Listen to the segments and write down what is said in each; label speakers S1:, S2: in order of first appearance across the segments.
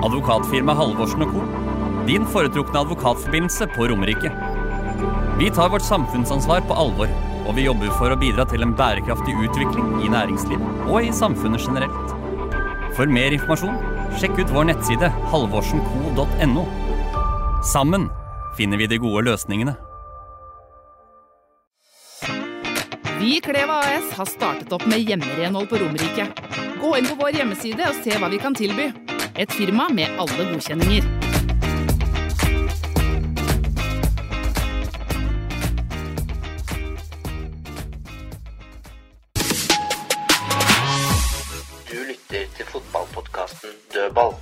S1: Advokatfirma Halvorsen og Co. Din foretrukne advokatforbindelse på Romerike. Vi tar vårt samfunnsansvar på alvor, og vi jobber for å bidra til en bærekraftig utvikling i næringslivet og i samfunnet generelt. For mer informasjon, sjekk ut vår nettside halvorsenco.no. Sammen finner vi de gode løsningene.
S2: Vi i Kleva AS har startet opp med hjemmerenhold på Romerike. Gå inn på vår hjemmeside og se hva vi kan tilby. Et firma med alle godkjenninger.
S3: Du lytter til fotballpodkasten Dødball.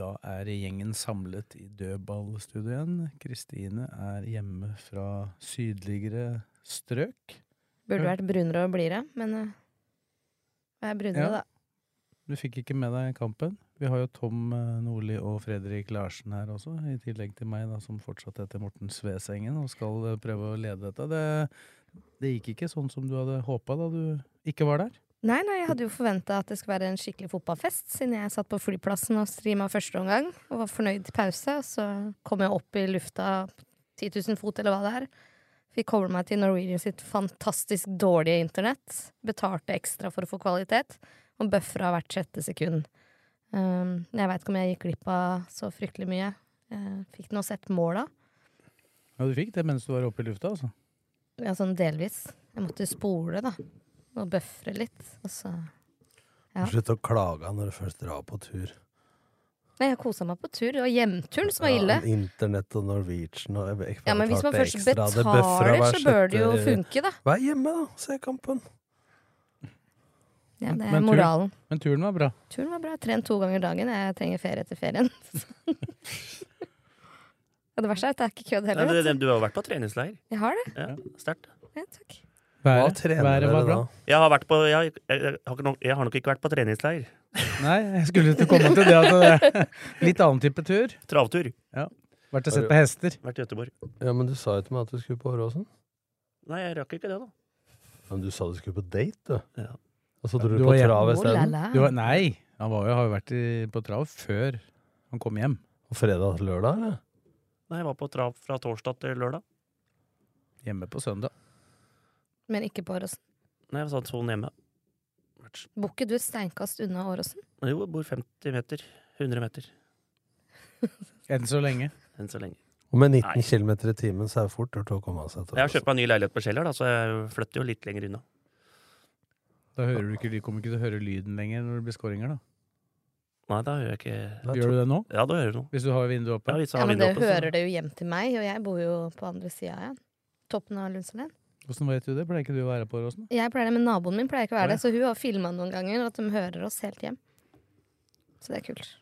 S4: Da er gjengen samlet i dødballstudio igjen. Kristine er hjemme fra sydligere strøk.
S5: Burde vært brunere og blidere, men eh, jeg er brunere,
S4: Ja.
S5: da.
S4: Du fikk ikke med deg kampen. Vi har jo Tom eh, Nordli og Fredrik Larsen her også, i tillegg til meg, da, som fortsatt heter Morten Svesengen og skal eh, prøve å lede dette. Det, det gikk ikke sånn som du hadde håpa da du ikke var der.
S5: Nei, nei, jeg hadde jo forventa at det skulle være en skikkelig fotballfest, siden jeg satt på flyplassen og streama første omgang og var fornøyd til pause. Og så kom jeg opp i lufta 10 000 fot, eller hva det er. Fikk koble meg til Norwegian sitt fantastisk dårlige internett. Betalte ekstra for å få kvalitet, og buffra hvert sjette sekund. Um, jeg veit ikke om jeg gikk glipp av så fryktelig mye. Jeg fikk nå sett måla.
S4: Ja, du fikk det mens du var oppe i lufta, altså.
S5: Ja, sånn delvis. Jeg måtte spole, da. Og bøfre litt. Og så Ja.
S6: Slutt å klage når du først drar på tur.
S5: Nei, jeg kosa meg på tur. Og hjemturen som var
S6: Ja,
S5: ille.
S6: Internett og Norwegian og jeg- jeg
S5: Ja, Men hvis man
S6: betalte
S5: først
S6: ekstra, det bøffra
S5: betaler,
S6: hver
S5: så bør det jo
S6: sjette-
S5: funke, da.
S6: Vær hjemme, da. Se kampen. Mm,
S5: Ja, det
S4: Men
S5: er
S4: tur-
S5: moralen.
S4: Men turen var bra.
S5: Turen var bra. Trent to ganger dagen. Jeg trenger ferie etter ferien. ja, det verste er at det er ikke kødd heller. vet du.
S7: du har jo vært på treningsleir.
S5: Jeg har det.
S7: Ja, Sterkt.
S5: Ja, takk.
S6: Hva
S4: Været,
S6: trener
S4: været
S6: dere
S4: var bra.
S6: da?
S7: Jeg har, vært på, jeg, jeg, jeg, har ikke nok, jeg har nok ikke vært på treningsleir.
S4: Nei, jeg skulle ikke komme til det. At det litt annen type tur.
S7: Travtur.
S4: Vært og sett på hester.
S7: Vært i Gøteborg.
S6: Ja, Men du sa jo til meg at du skulle på Åråsen.
S7: Nei, jeg rakk ikke det, da.
S6: Men du sa du skulle på date, du.
S7: Ja.
S6: Og så
S4: Ja,
S6: dro
S4: du
S6: du på
S4: og jeg-
S6: trav
S5: Oh, la,
S6: isteden.
S5: la.
S4: Du, har- nei, han var jo, har jo vært i, på trav før han kom hjem.
S6: Og fredag til lørdag, eller?
S7: Nei, jeg var på trav fra torsdag til lørdag.
S4: Hjemme på søndag.
S5: Men ikke på Åråsen.
S7: Nei, jeg satt sånn hjemme.
S5: Bor ikke du et steinkast unna Åråsen?
S7: Jo, jeg bor 50 meter. 100 meter.
S4: Enn så lenge.
S7: Enn så lenge.
S6: Og med
S7: Nei.
S6: 19 km i timen så er det fort gjort å komme seg til
S7: Jeg har kjøpt meg en ny leilighet på Kjeller, da, så jeg flytter jo litt lenger unna.
S4: Da hører du ikke, ly- kommer ikke til å høre lyden lenger når det blir skåringer. da.
S7: Nei, da hører jeg ikke
S4: Gjør du det nå?
S7: Ja, da hører du noe.
S4: Hvis du har vinduet
S7: Ja,
S4: oppe?
S7: hvis jeg
S5: Ja,
S7: har
S5: men det
S7: vinduet oppe, så-
S5: hører det jo hjem til meg, og jeg bor jo på andre sida igjen. Toppen av Lundsvall.
S4: Åssen vet du det? Pleier ikke du å være på Åråsen?
S5: Jeg pleier det, men naboen min pleier ikke å
S4: Å, ja.
S5: være det. Så hun har filma noen ganger, og at de hører oss helt hjem. Så det er kult.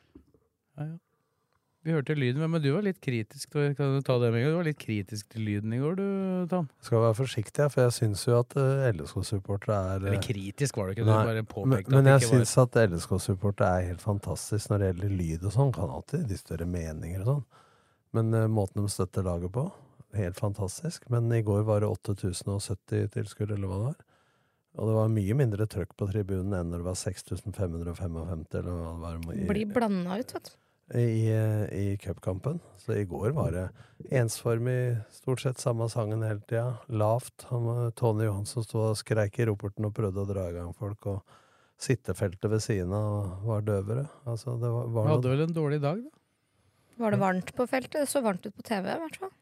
S4: Vi hørte lyden, men du var litt kritisk til kan du ta det med, en gang? du var litt kritisk til lyden i går, du, Tom.
S6: Jeg skal være forsiktig, her, for jeg syns jo at eh, LSK-supportere er eh,
S4: Eller kritisk var det ikke, du
S6: Nei,
S4: bare
S6: men,
S4: påpekte
S6: men
S4: at
S6: jeg
S4: det ikke
S6: syns at LSK-supportere er helt fantastisk når det gjelder lyd og sånn. Kan alltid de større meninger og sånn. Men eh, måten de støtter laget på, helt fantastisk. Men i går var det 8070 tilskudd, eller hva det var. Og det var mye mindre trøkk på tribunen enn når det var 6555, eller hva det var. i-
S5: Blir blanda ut, vet du.
S6: i, eh, i cupkampen. Så i går var det ensformig, stort sett samme sangen hele tida. Lavt. Han, var- Tone Johansen sto og skreik i roperten og prøvde å dra i gang folk. Og sittefeltet ved siden av var døvere. Altså, det var,
S4: var.
S6: var
S4: Du
S6: noe
S4: hadde vel en dårlig dag, da?
S5: Var det varmt på feltet? Det så varmt ut på TV, i hvert fall.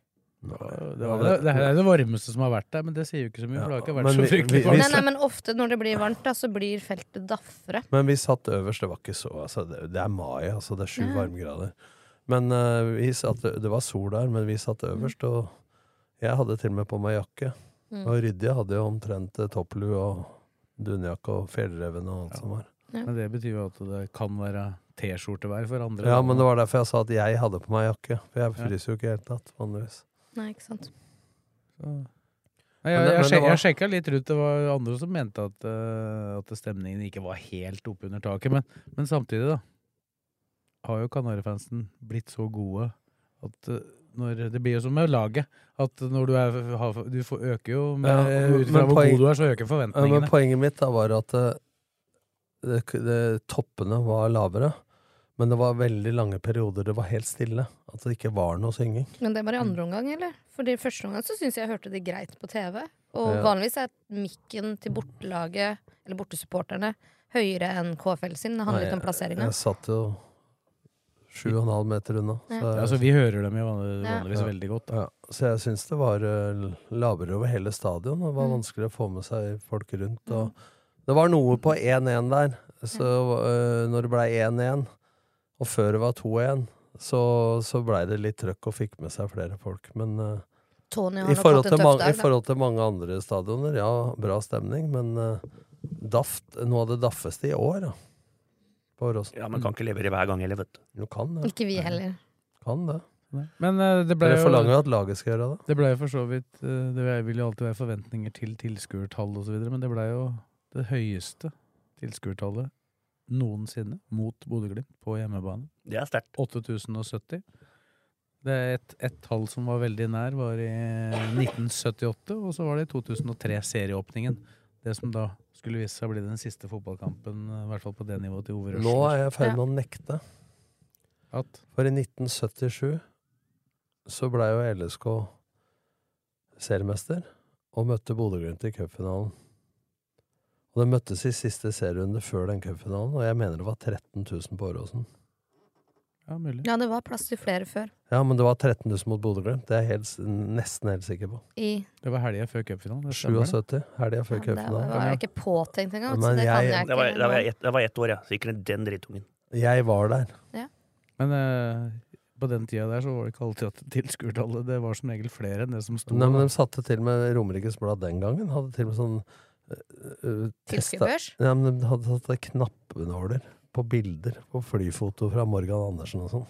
S4: Det, var, det, det her er det varmeste som har vært der, men det sier jo ikke så mye, for det har ikke
S6: Ja,
S4: vært
S6: men
S4: så
S6: vi-
S4: fryktelig
S6: vi-
S4: varmt.
S5: Nei, nei, men ofte når det blir varmt, da, så blir feltet daffere.
S6: Men vi satt øverst. Det var ikke så altså, det, det er mai, altså. Det er sju
S5: Ja.
S6: varmegrader. Men eh, vi satt, det var sol der, men vi satt øverst, og Jeg hadde til og med på meg jakke.
S5: Mm.
S6: Og Ryddige hadde jo omtrent eh, topplue og dunjakke og fjellreven og alt som var.
S4: Men det betyr jo at det kan være T-skjortevær for andre.
S6: Ja,
S4: da.
S6: men det var derfor jeg sa at jeg hadde på meg jakke. For jeg
S4: Ja.
S6: fryser jo ikke i det hele tatt, vanligvis.
S5: Nei, ikke sant.
S4: Nei,
S6: Men
S4: jeg,
S6: det- men
S4: jeg,
S6: det
S4: sjek,
S6: var-
S4: jeg sjekka litt rundt. Det var andre som mente at, eh, at stemningen ikke var helt oppe under taket. Men, men samtidig, da, har jo Kanarifansen blitt så gode at eh, når, det blir jo som med laget, at når du er har, Du får, øker jo med, eh,
S6: Ja,
S4: Ut fra
S6: men
S4: hvor
S6: poeng-
S4: god du er, så øker
S6: Ja,
S4: forventningene.
S6: men poenget mitt da var at eh, det, det, toppene var lavere, men det var veldig lange perioder det var helt stille. At det ikke var noe synging.
S5: Men det var i andre omgang, eller? For i første omgang så syns jeg jeg hørte det greit på TV. Og
S6: Ja.
S5: vanligvis er mikken til bortelaget, eller bortesupporterne, høyere enn KFL sin. Det handler
S6: Nei,
S5: litt om
S6: jeg,
S5: plasseringa.
S6: jeg satt jo sju og en halv meter unna.
S5: Ja.
S4: Ja, så Altså, vi hører dem jo vanlig-
S5: Ja.
S4: vanligvis
S6: Ja.
S4: veldig godt. Da.
S6: Ja, så jeg syns det var eh, lavere over hele stadion. og Det var
S5: Mm.
S6: vanskelig å få med seg folk rundt. Og det var noe på 1-1 der. Så eh, når det blei 1-1, og før det var 2-1, så, så blei det litt trøkk og fikk med seg flere folk. Men eh,
S5: Tony har
S6: i
S5: nok
S6: forhold,
S5: hatt
S6: til
S5: en tøff
S6: mange,
S5: dag,
S6: I
S5: da.
S6: forhold til mange andre stadioner, ja, bra stemning, men eh, daft, noe av det daffeste i år, da. På Åråsen.
S7: Ja, Man kan ikke levere hver gang heller, vet du.
S6: Du kan det.
S5: Ikke vi heller.
S6: Kan det.
S4: Men eh, det ble
S6: Dere
S4: jo
S6: forlanger jo at laget skal gjøre det.
S4: Det ble jo for så vidt eh, Det vil jo alltid være forventninger til tilskuertall osv., men det ble jo det høyeste tilskuertallet noensinne mot Bodø-Glimt på hjemmebane.
S7: Det er sterkt.
S4: 8070. Det er et, et tall som var veldig nær, var i 1978, og så var det i 2003, serieåpningen. Det som da skulle vise seg å bli den siste fotballkampen, eh, i hvert fall på det nivået til Ove Røsler.
S6: Nå er jeg i ferd med å nekte.
S4: At?
S6: For i 1977 så blei jo LSK seriemester og møtte Bodø-Glimt i cupfinalen. Og de møttes i siste serierunde før den cupfinalen, og jeg mener det var 13 000 på Åråsen.
S4: Ja, mulig.
S5: Ja, det var plass til flere før.
S6: Ja, men det var 13 000 mot Bodø-Glimt. Det er jeg helt, s- nesten helt sikker på.
S5: I
S4: Det var helga før cupfinalen. det stemmer det.
S6: 77, helga før
S5: Det var
S6: cupfinalen.
S5: jeg ikke påtenkt engang, så
S6: Men
S5: det kan jeg ikke.
S7: Det var, det var, ett, det var ett år, ja. Så gikk det den drittungen.
S6: Jeg var der.
S4: Men eh, på den tida der så var det ikke alltid at tilskuertallet Det var som regel flere enn det som sto.
S6: Nei,
S4: da.
S6: men de satte til med Romerikes Blad den gangen. Hadde til og med sånn øh, øh, testa-
S5: Tilskuerbørs?
S6: Ja, men de hadde tatt knappenåler på bilder på flyfoto fra Morgan Andersen og sånn.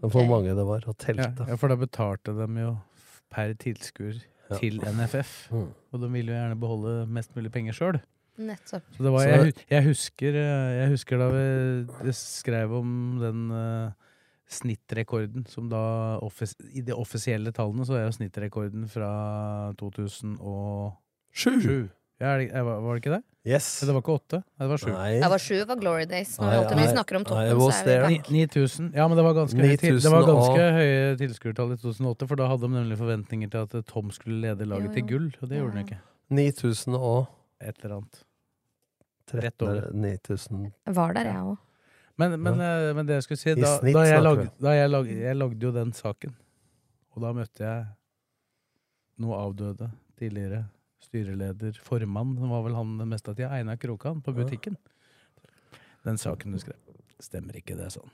S6: Men Hvor
S5: Ok.
S6: mange det var, og
S4: ja,
S6: telte.
S4: ja, for da betalte de jo f- per tilskuer
S6: Ja.
S4: til NFF.
S6: Mm.
S4: Og de ville jo gjerne beholde mest mulig penger sjøl.
S5: Nettopp.
S4: Så det var,
S6: Så-
S4: jeg, hu- jeg, husker, eh, jeg husker da vi vi skrev om den eh, snittrekorden som da offis, I de offisielle tallene så er jo snittrekorden fra 2007.
S6: Sju!
S4: Ja, er det, er- var det ikke det?
S6: Yes!
S4: Det var ikke åtte? Nei, det var sju.
S6: Nei.
S5: Jeg var sju, var Glory Days. Når
S6: Nei,
S5: vi alltid- når vi
S6: nei,
S5: snakker om
S6: nei,
S5: toppen,
S6: jeg
S5: så
S6: was
S5: er vi
S6: there.
S5: back.
S4: Ni- 9000. Ja, men det var ganske, høye, til, det
S6: 9000
S4: var
S6: og-
S4: ganske høye tilskuertall i 2008, for da hadde de nemlig forventninger til at eh, Tom skulle lede laget
S5: Jo,
S4: til
S5: jo.
S4: gull, og det
S5: Ja,
S4: gjorde
S5: ja.
S4: han ikke.
S6: 9000 og
S4: Et eller annet. Rett
S6: 13
S4: over.
S6: 9000
S5: Jeg var der, jeg òg.
S4: Men, men, eh, men det jeg skulle si,
S6: I
S4: da,
S6: snitt
S4: da,
S6: snakker
S4: jeg, lag, da jeg, lag, jeg lagde jo den saken, og da møtte jeg noe avdøde tidligere styreleder, formann, som var vel han det meste av tida, Einar Krokan, på
S6: Ja.
S4: butikken. Den saken du skrev, stemmer ikke, det er sånn.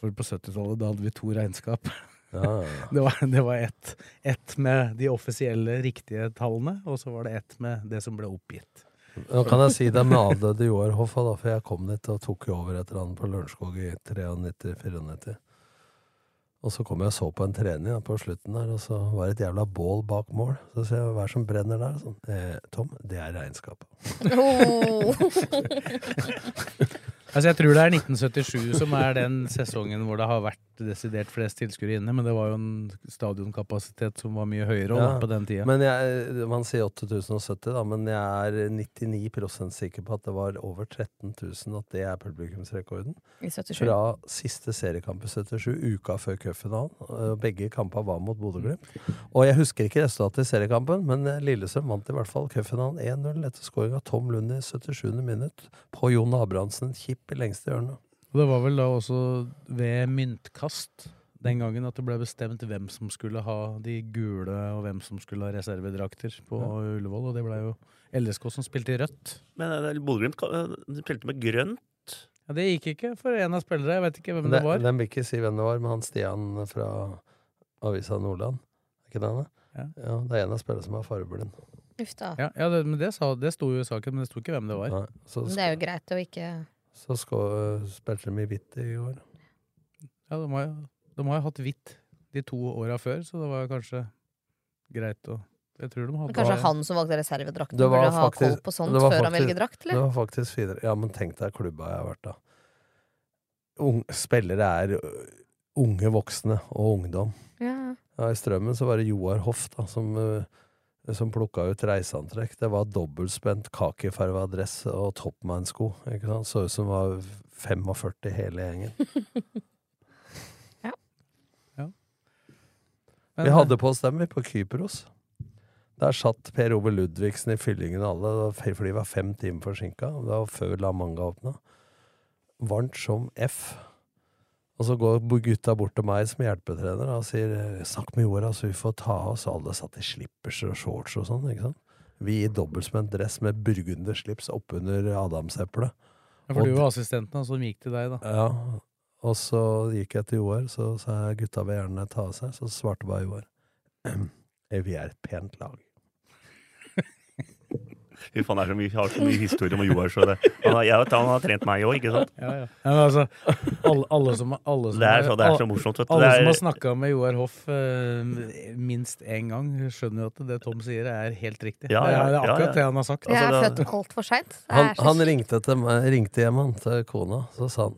S4: For på 70-tallet, da hadde vi to regnskap.
S6: Ja, ja.
S4: Det var, det var ett. Ett med de offisielle riktige tallene, og så var det ett med det som ble oppgitt.
S6: Nå kan jeg si det med avdøde Joar Hoffa, da, for jeg kom dit og tok jo over etter han på Lørenskog i 93-94. Og så kom jeg og så på en trening da, på slutten der, og så var det et jævla bål bak mål. Så ser jeg hva er det som brenner der? Sånn. Eh, Tom, det er regnskapet.
S4: Altså Jeg tror det er 1977 som er den sesongen hvor det har vært desidert flest tilskuere inne, men det var jo en stadionkapasitet som var mye høyere også,
S6: Ja,
S4: på den tida.
S6: Men jeg, eh, man sier 8070, da, men jeg er 99 sikker på at det var over 13 000 at det er publikumsrekorden.
S5: I 77.
S6: Fra siste seriekamp i 77, uka før cupfinalen. og Begge kamper var mot
S4: Mm.
S6: Bodø-Glimt. Og jeg husker ikke resultatet i seriekampen, men eh, Lillestrøm vant i hvert fall cupfinalen 1-0 etter scoring av Tom Lund i 77. minutt på Jon Abrahamsen. Kjipp i lengste hjørne.
S4: Og det var vel da også ved myntkast den gangen at det ble bestemt hvem som skulle ha de gule, og hvem som skulle ha reservedrakter på Ullevål, og det ble jo LSK som spilte i rødt.
S7: Men eh, Bodø-Glimt ka- eh, de spilte med grønt.
S4: Ja, det gikk ikke for en av spillere, jeg vet ikke hvem
S6: Men
S4: det
S6: det,
S4: var.
S6: den vil ikke si hvem det var, men han Stian fra Avisa Nordland. Er ikke det han er? Ja, det er en av spillerne som er fargeblind.
S5: Uff da.
S4: Ja, ja det, men det, sa, det sto jo i saken, men det sto ikke hvem det var.
S6: så
S5: Men det er jo greit å ikke
S6: Så skal, eh, spilte de i hvitt i år.
S4: Ja, de har, jo- de har jo hatt hvitt de to åra før, så det var kanskje greit å Jeg tror de hadde
S5: Men Kanskje
S4: bare-
S5: han som valgte reservedrakt, burde ha koll på sånt
S6: det var
S5: før han
S6: faktisk-
S5: velger drakt,
S6: Det
S5: eller?
S6: var faktisk finere. Ja, men tenk deg klubba jeg har vært da. Ung- spillere er ø, unge voksne og ungdom.
S5: Ja.
S6: Ja, I Strømmen så var det Joar Hoff da, som, ø, som plukka ut reiseantrekk. Det var dobbeltspent kakifarga dress og toppmannsko. ikke sant? Så ut som det var 45 hele gjengen. vi
S4: Men- eh,
S6: hadde på oss dem, vi, på Kypros. Der satt Per Ove Ludvigsen i fyllingen alle, og fe- for de var fem timer forsinka. og Det var før La Manga åpna. Varmt som F. Og så går bo- gutta bort til meg som hjelpetrener da, og sier 'snakk med jorda, så vi får ta av oss'. Alle satt i slippers og shorts og sånn. ikke sant? Vi i dobbeltspent dress med burgunderslips oppunder adamseplet.
S4: Ja, for
S6: Og
S4: du
S6: d-
S4: var assistenten, og som gikk til deg, da.
S6: ja, og så gikk jeg til Joar, så sa jeg gutta vil gjerne ta av seg, så svarte bare Joar. «Eh, Vi er et pent lag.
S7: Fy faen, det er så mye, har så mye historie om Joar. Så det. Han, har, jeg, vet, han har trent meg òg, ikke sant?
S4: Ja, ja. Ja, men altså, alle, alle som, alle som
S7: Det er så- det er så
S4: alle-
S7: morsomt, vet du.
S4: Alle
S7: Det er-
S4: som har snakka med Joar Hoff eh, minst én gang, skjønner jo at det Tom sier, er helt riktig.
S6: Ja, ja,
S4: det er det er
S6: ja,
S4: akkurat
S6: ja.
S4: det han har sagt.
S5: Jeg er
S4: Altså,
S5: født
S4: det-
S5: altfor seint.
S6: Han, han ringte, til meg, ringte hjem han, til kona, så sa han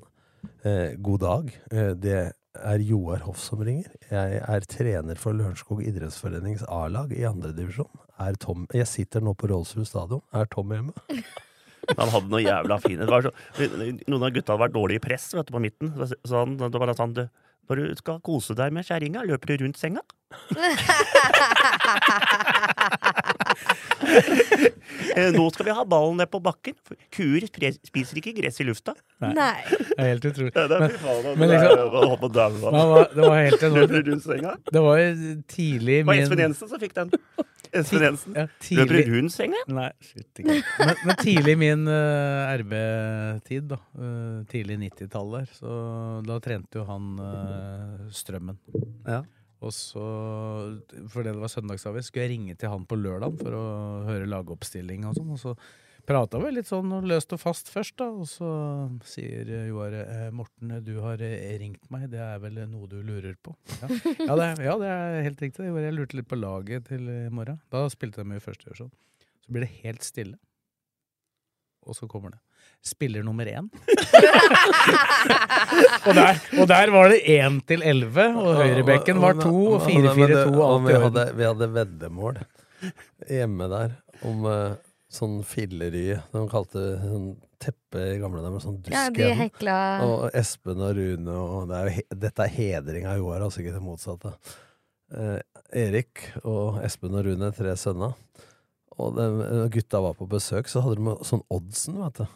S6: eh, god dag, eh, det er Joar Hoff som ringer. Jeg er trener for Lørenskog idrettsforenings A-lag i andredivisjon. Jeg sitter nå på Rålshus stadion. Er Tom hjemme?
S7: Han hadde noe jævla fine det var så, Noen av gutta hadde vært dårlige i press vet du, på midten. Så han, det var da sånn du, Når du skal kose deg med kjerringa, løper du rundt senga? Eh, Nå skal vi ha ballen ned på bakken. for Kuer spre- spiser ikke gress i lufta.
S5: Nei.
S4: Det er helt utrolig.
S7: Ja, det er
S4: Men-
S7: fy faen, det er-
S4: men
S7: det er-
S4: liksom-
S7: jeg holdt på å daue av.
S4: Men han var- Det var helt
S7: Løper rundt senga.
S4: enormt. Det var jo tidlig i
S7: Det var
S4: min-
S7: Espen Jensen som fikk den. Espen Jensen.
S4: Ja,
S7: Løper
S4: tidlig-
S7: du rundt senga?
S4: Nei, shit, ikke. men, men tidlig i min eh, RB-tid, da. eh, tidlig 90-tallet, her, så da trente jo han eh, Strømmen. Og så, fordi det var søndagsavis, skulle jeg ringe til han på lørdag for å høre lagoppstilling og sånn. Og så prata vi litt sånn og løst og fast først, da. Og så sier eh, Joar eh, Morten, du har eh, ringt meg, det er vel noe du lurer på? Ja, ja, det, er, ja det er helt riktig. Joar, jeg lurte litt på laget til i morgen. Da spilte de i første divisjon. Så blir det helt stille. Og så kommer det. Spiller nummer én. og, der, og der var det én til elleve, og høyrebekken var to, og
S6: Men- men det-
S4: 4-4-2 og
S6: og
S4: alt
S6: vi
S4: i
S6: hadde,
S4: orden.
S6: vi hadde veddemål hjemme der om eh, sånn filleri De kalte det sånn teppe i gamle dager, sånn
S5: Ja, de
S6: duskevn.
S5: hekla-
S6: Og Espen og Rune og det er, jo he- Dette er hedring av Joar, altså ikke det motsatte. Eh, Erik og Espen og Rune, tre sønner. Og de, når gutta var på besøk, så hadde de sånn oddsen, vet du.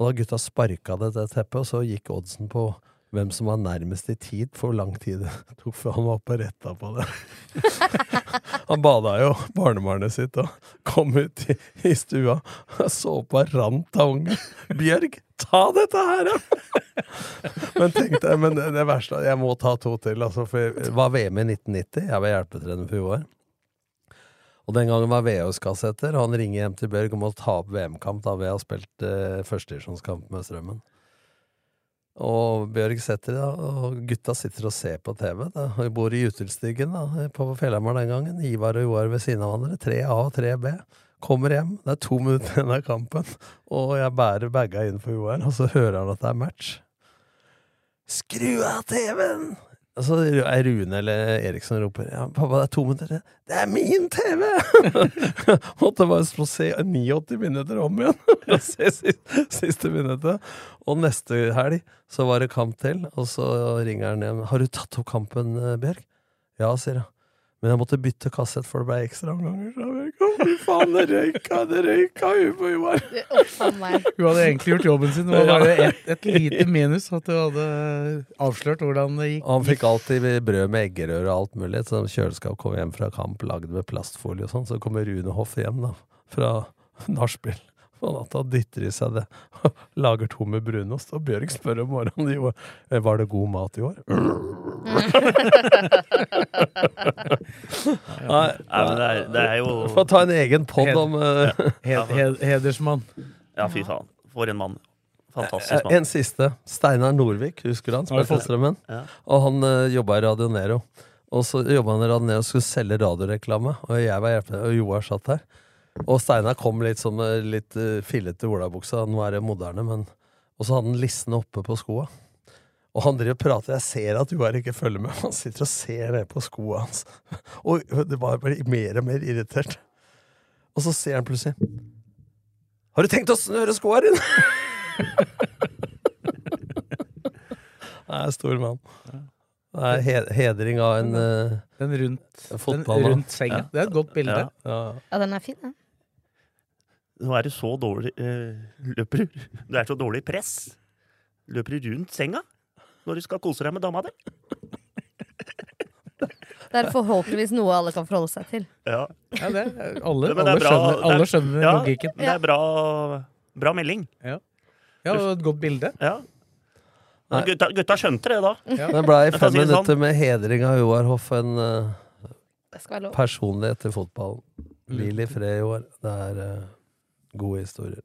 S6: Og da gutta sparka det til teppet, og så gikk oddsen på hvem som var nærmest i tid, for hvor lang tid det tok før han var oppe og retta på det. han bada jo barnebarnet sitt og kom ut i, i stua. Såpa rant av ungen. Bjørg, ta dette her! ja! men tenkte jeg, men det verste Jeg må ta to til, altså. For det var VM i 1990. Jeg var hjelpetrener for Joar. Og den gangen var VHS-kassetter, og han ringer hjem til Bjørg om å ta opp VM-kamp da vi har spilt eh, førstedivisjonskamp med Strømmen. Og Bjørg setter det, og gutta sitter og ser på TV. Da. Vi bor i Jutelstigen da, eh, på Fjellhamar den gangen. Ivar og Joar ved siden av hverandre. 3A og 3B. Kommer hjem, det er to minutter igjen av kampen, og jeg bærer baga inn for Joar, og så hører han at det er match. Skru av TV-en! Og så er Rune eller Eriksson roper ja, 'Pappa, det er to minutter igjen.' 'Det er min TV!' Måtte bare så se 89 minutter om igjen. for å se siste, siste minuttet. Og neste helg så var det kamp til, og så ringer han hjem. 'Har du tatt opp kampen, eh, Bjørg?' 'Ja', sier han. Men jeg måtte bytte kassett, for det ble ekstraomganger. sa Bjørg. Å, Fy faen, det røyka, det røyka i huet på Joar.
S4: Hun hadde egentlig gjort jobben sin, det var
S6: Ja.
S4: bare et, et lite minus at du hadde avslørt hvordan det gikk.
S6: Og han fikk alltid brød med eggerøre og alt mulig. Så kjøleskap kom hjem fra kamp lagd med plastfolie og sånn. Så kommer Rune Hoff hjem da, fra nachspiel Sånn at han dytter i seg det. Lager to med brunost. Og Bjørg spør om morgenen jo, eh, var det god mat i år. Nei,
S7: Nei, men det er- det er jo-
S6: Får ta en egen pod om eh,
S4: Hedersmann.
S7: Ja, fy faen. For en mann. Fantastisk
S6: Eh, En
S7: mann.
S6: siste. Steinar Norvik, husker du han?
S7: Har du
S6: Spilte
S7: fått-
S6: strømmen.
S7: Ja.
S6: Og han uh, jobba i Radio Nero. Og så jobba han i Radio Nero og skulle selge radioreklame. Og jeg var hjelpende, og Joar satt der. Og Steinar kom litt sånn med litt eh, fillete olabuksa. Nå er det moderne, men Og så hadde han lissene oppe på skoa. Og han driver og prater. Jeg ser at Joar ikke følger med. Han sitter og ser ned på skoa hans. Og det bare blir mer og mer irritert. Og så ser han plutselig Har du tenkt å snøre skoa dine?! Det er stor mann. Det er he- hedring av en eh,
S4: Den rundt, den
S6: fotball, da.
S4: rundt senga. Det er et godt bilde.
S6: Ja. Ja.
S5: Ja, den er fin, den.
S7: Nå er du så dårlig eh, løper, Du er så dårlig i press. Løper du rundt senga når du skal kose deg med dama di?
S5: Det er forhåpentligvis noe alle kan forholde seg til.
S7: Ja.
S4: Ja, det er- alle-
S7: Men det
S4: alle
S7: er bra-
S4: skjønner-
S7: det er-
S4: alle skjønner
S7: ja,
S4: logikken.
S7: men Det er bra, bra melding.
S4: Ja. Ja, og et godt bilde.
S7: Ja. Men Gutta, gutta skjønte det da.
S6: Det ble i
S7: Jeg kan
S6: fem
S7: si det sånn.
S6: minutter med hedring av Joar Hoff, en eh,
S5: Det skal være lov.
S6: personlighet til fotballen. Hvil i fred, Joar. Det er eh, gode historier.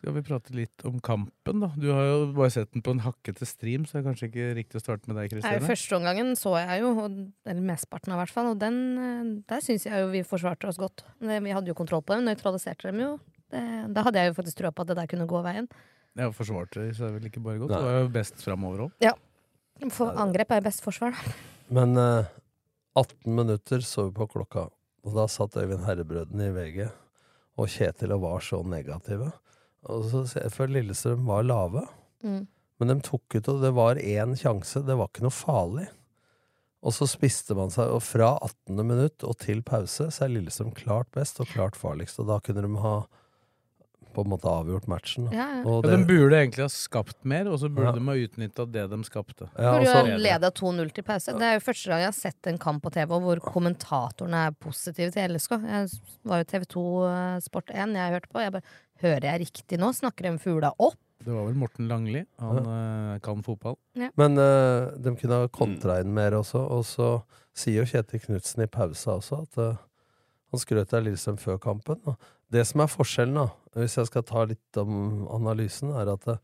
S4: Skal vi prate litt om kampen, da? Du har jo bare sett den på en hakkete stream, så det er kanskje ikke riktig å starte med deg,
S5: Nei,
S4: Kristine?
S5: første omgangen så jeg jo, og, eller mesteparten av hvert fall, og den, eh, der syns jeg jo vi forsvarte oss godt. Det- Vi hadde jo kontroll på dem, nøytraliserte dem jo. Det, da hadde jeg jo faktisk trua på at det der kunne gå veien.
S4: Ja, forsvarte deg, så er det vel ikke bare godt.
S6: Nei.
S4: Du var jo best framover òg.
S5: Ja. For angrep er jo best forsvar, da.
S6: Men eh, 18 minutter så vi på klokka, og da satt Øyvind Herrebrøden i VG, og Kjetil og var så negative. Og så ser jeg for Lillestrøm var lave,
S5: Mm.
S6: men de tok ut, og det var én sjanse. Det var ikke noe farlig. Og så spiste man seg, og fra 18. minutt og til pause så er Lillestrøm klart best og klart farligst, og da kunne de ha på en måte avgjort matchen. da.
S5: Ja, ja.
S6: Og
S4: Ja, de
S6: det-
S4: burde egentlig ha skapt mer, og så burde
S6: Ja.
S4: de ha utnytta det de skapte.
S6: Ja, altså-
S5: Hvor du har leda 2-0 til pause. Det er jo første gang jeg har sett en kamp på TV hvor kommentatorene er positive til LSK. Jeg var jo TV2 eh, Sport 1 jeg hørte på. Jeg bare, Hører jeg riktig nå? Snakker de fugla opp?
S4: Det var vel Morten Langli. Han eh, kan fotball.
S6: Men eh, de kunne ha kontra inn mer også, og så sier jo Kjetil Knutsen i pausa også at eh, han skrøt av Lillestrøm før kampen. Og det som er forskjellen, da, hvis jeg skal ta litt om analysen, er at eh,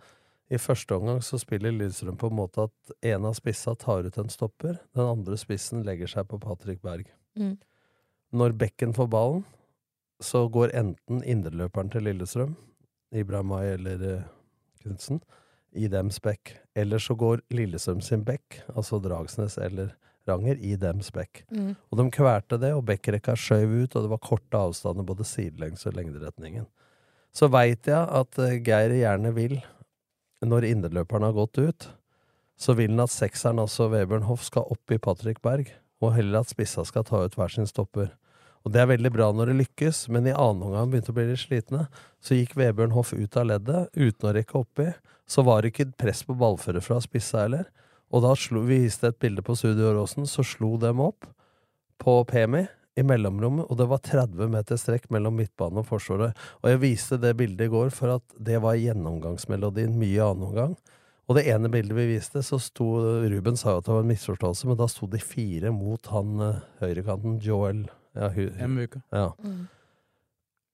S6: i første omgang så spiller Lillestrøm på en måte at en av spissa tar ut en stopper, den andre spissen legger seg på Patrick Berg.
S5: Mm.
S6: Når bekken får ballen, så går enten indreløperen til Lillestrøm, Ibrahimay eller eh, Knutsen, i dems bekk. Eller så går Lillestrøm sin bekk, altså Dragsnes eller Ranger, i dems bekk.
S5: Mm.
S6: Og de kvelte det, og bekkrekka skjøv ut, og det var korte avstander både sidelengs og lengderetningen. Så veit jeg at eh, Geir gjerne vil, når indreløperen har gått ut, så vil han at sekseren, altså Vebjørn Hoff, skal opp i Patrick Berg, og heller at spissa skal ta ut hver sin stopper. Og det er veldig bra når det lykkes, men i annen omgang begynte å bli litt slitne. Så gikk Vebjørn Hoff ut av leddet, uten å rekke oppi. Så var det ikke press på ballfører fra spissa heller. Og da slo, vi viste et bilde på Studio Åråsen, så slo dem opp på Pemi i mellomrommet, og det var 30 meter strekk mellom midtbanen og forsvaret. Og jeg viste det bildet i går for at det var gjennomgangsmelodien mye i annen omgang. Og det ene bildet vi viste, så sto Ruben sa jo at det var en misforståelse, men da sto de fire mot han eh, høyrekanten, Joel ja, hu,
S4: Mvuka.
S6: Ja.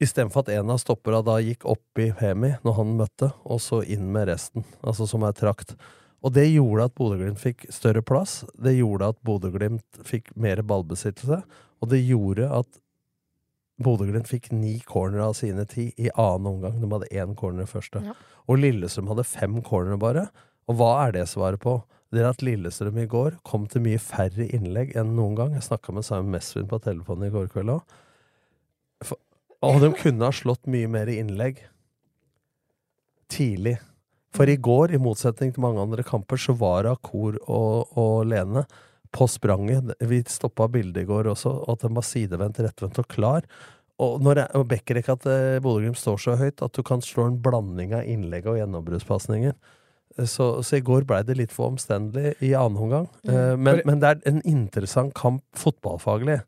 S6: Istedenfor at en av stoppera da gikk opp i Hemi når han møtte, og så inn med resten, altså som er trakt. Og det gjorde at Bodø-Glimt fikk større plass, det gjorde at Bodø-Glimt fikk mer ballbesittelse, og det gjorde at Bodø-Glimt fikk ni corner av sine ti i annen omgang. De hadde én corner i første.
S5: Ja.
S6: Og Lillestrøm hadde fem corner bare. Og hva er det svaret på? Det er at Lillestrøm i går kom til mye færre innlegg enn noen gang. Jeg snakka med Simon Mesvin på telefonen i går kveld òg. Og de kunne ha slått mye mer innlegg tidlig. For i går, i motsetning til mange andre kamper, så var Akor og, og Lene på spranget. Vi stoppa bildet i går også, og at den var sidevendt, rettvendt og klar. Og når jeg- og Bekkerekka til eh, Bodø-Glimt står så høyt at du kan slå en blanding av innlegg og gjennombruddspasninger. Så, så i går blei det litt for omstendelig i annen omgang. Eh, Men, men det er en interessant kamp fotballfaglig.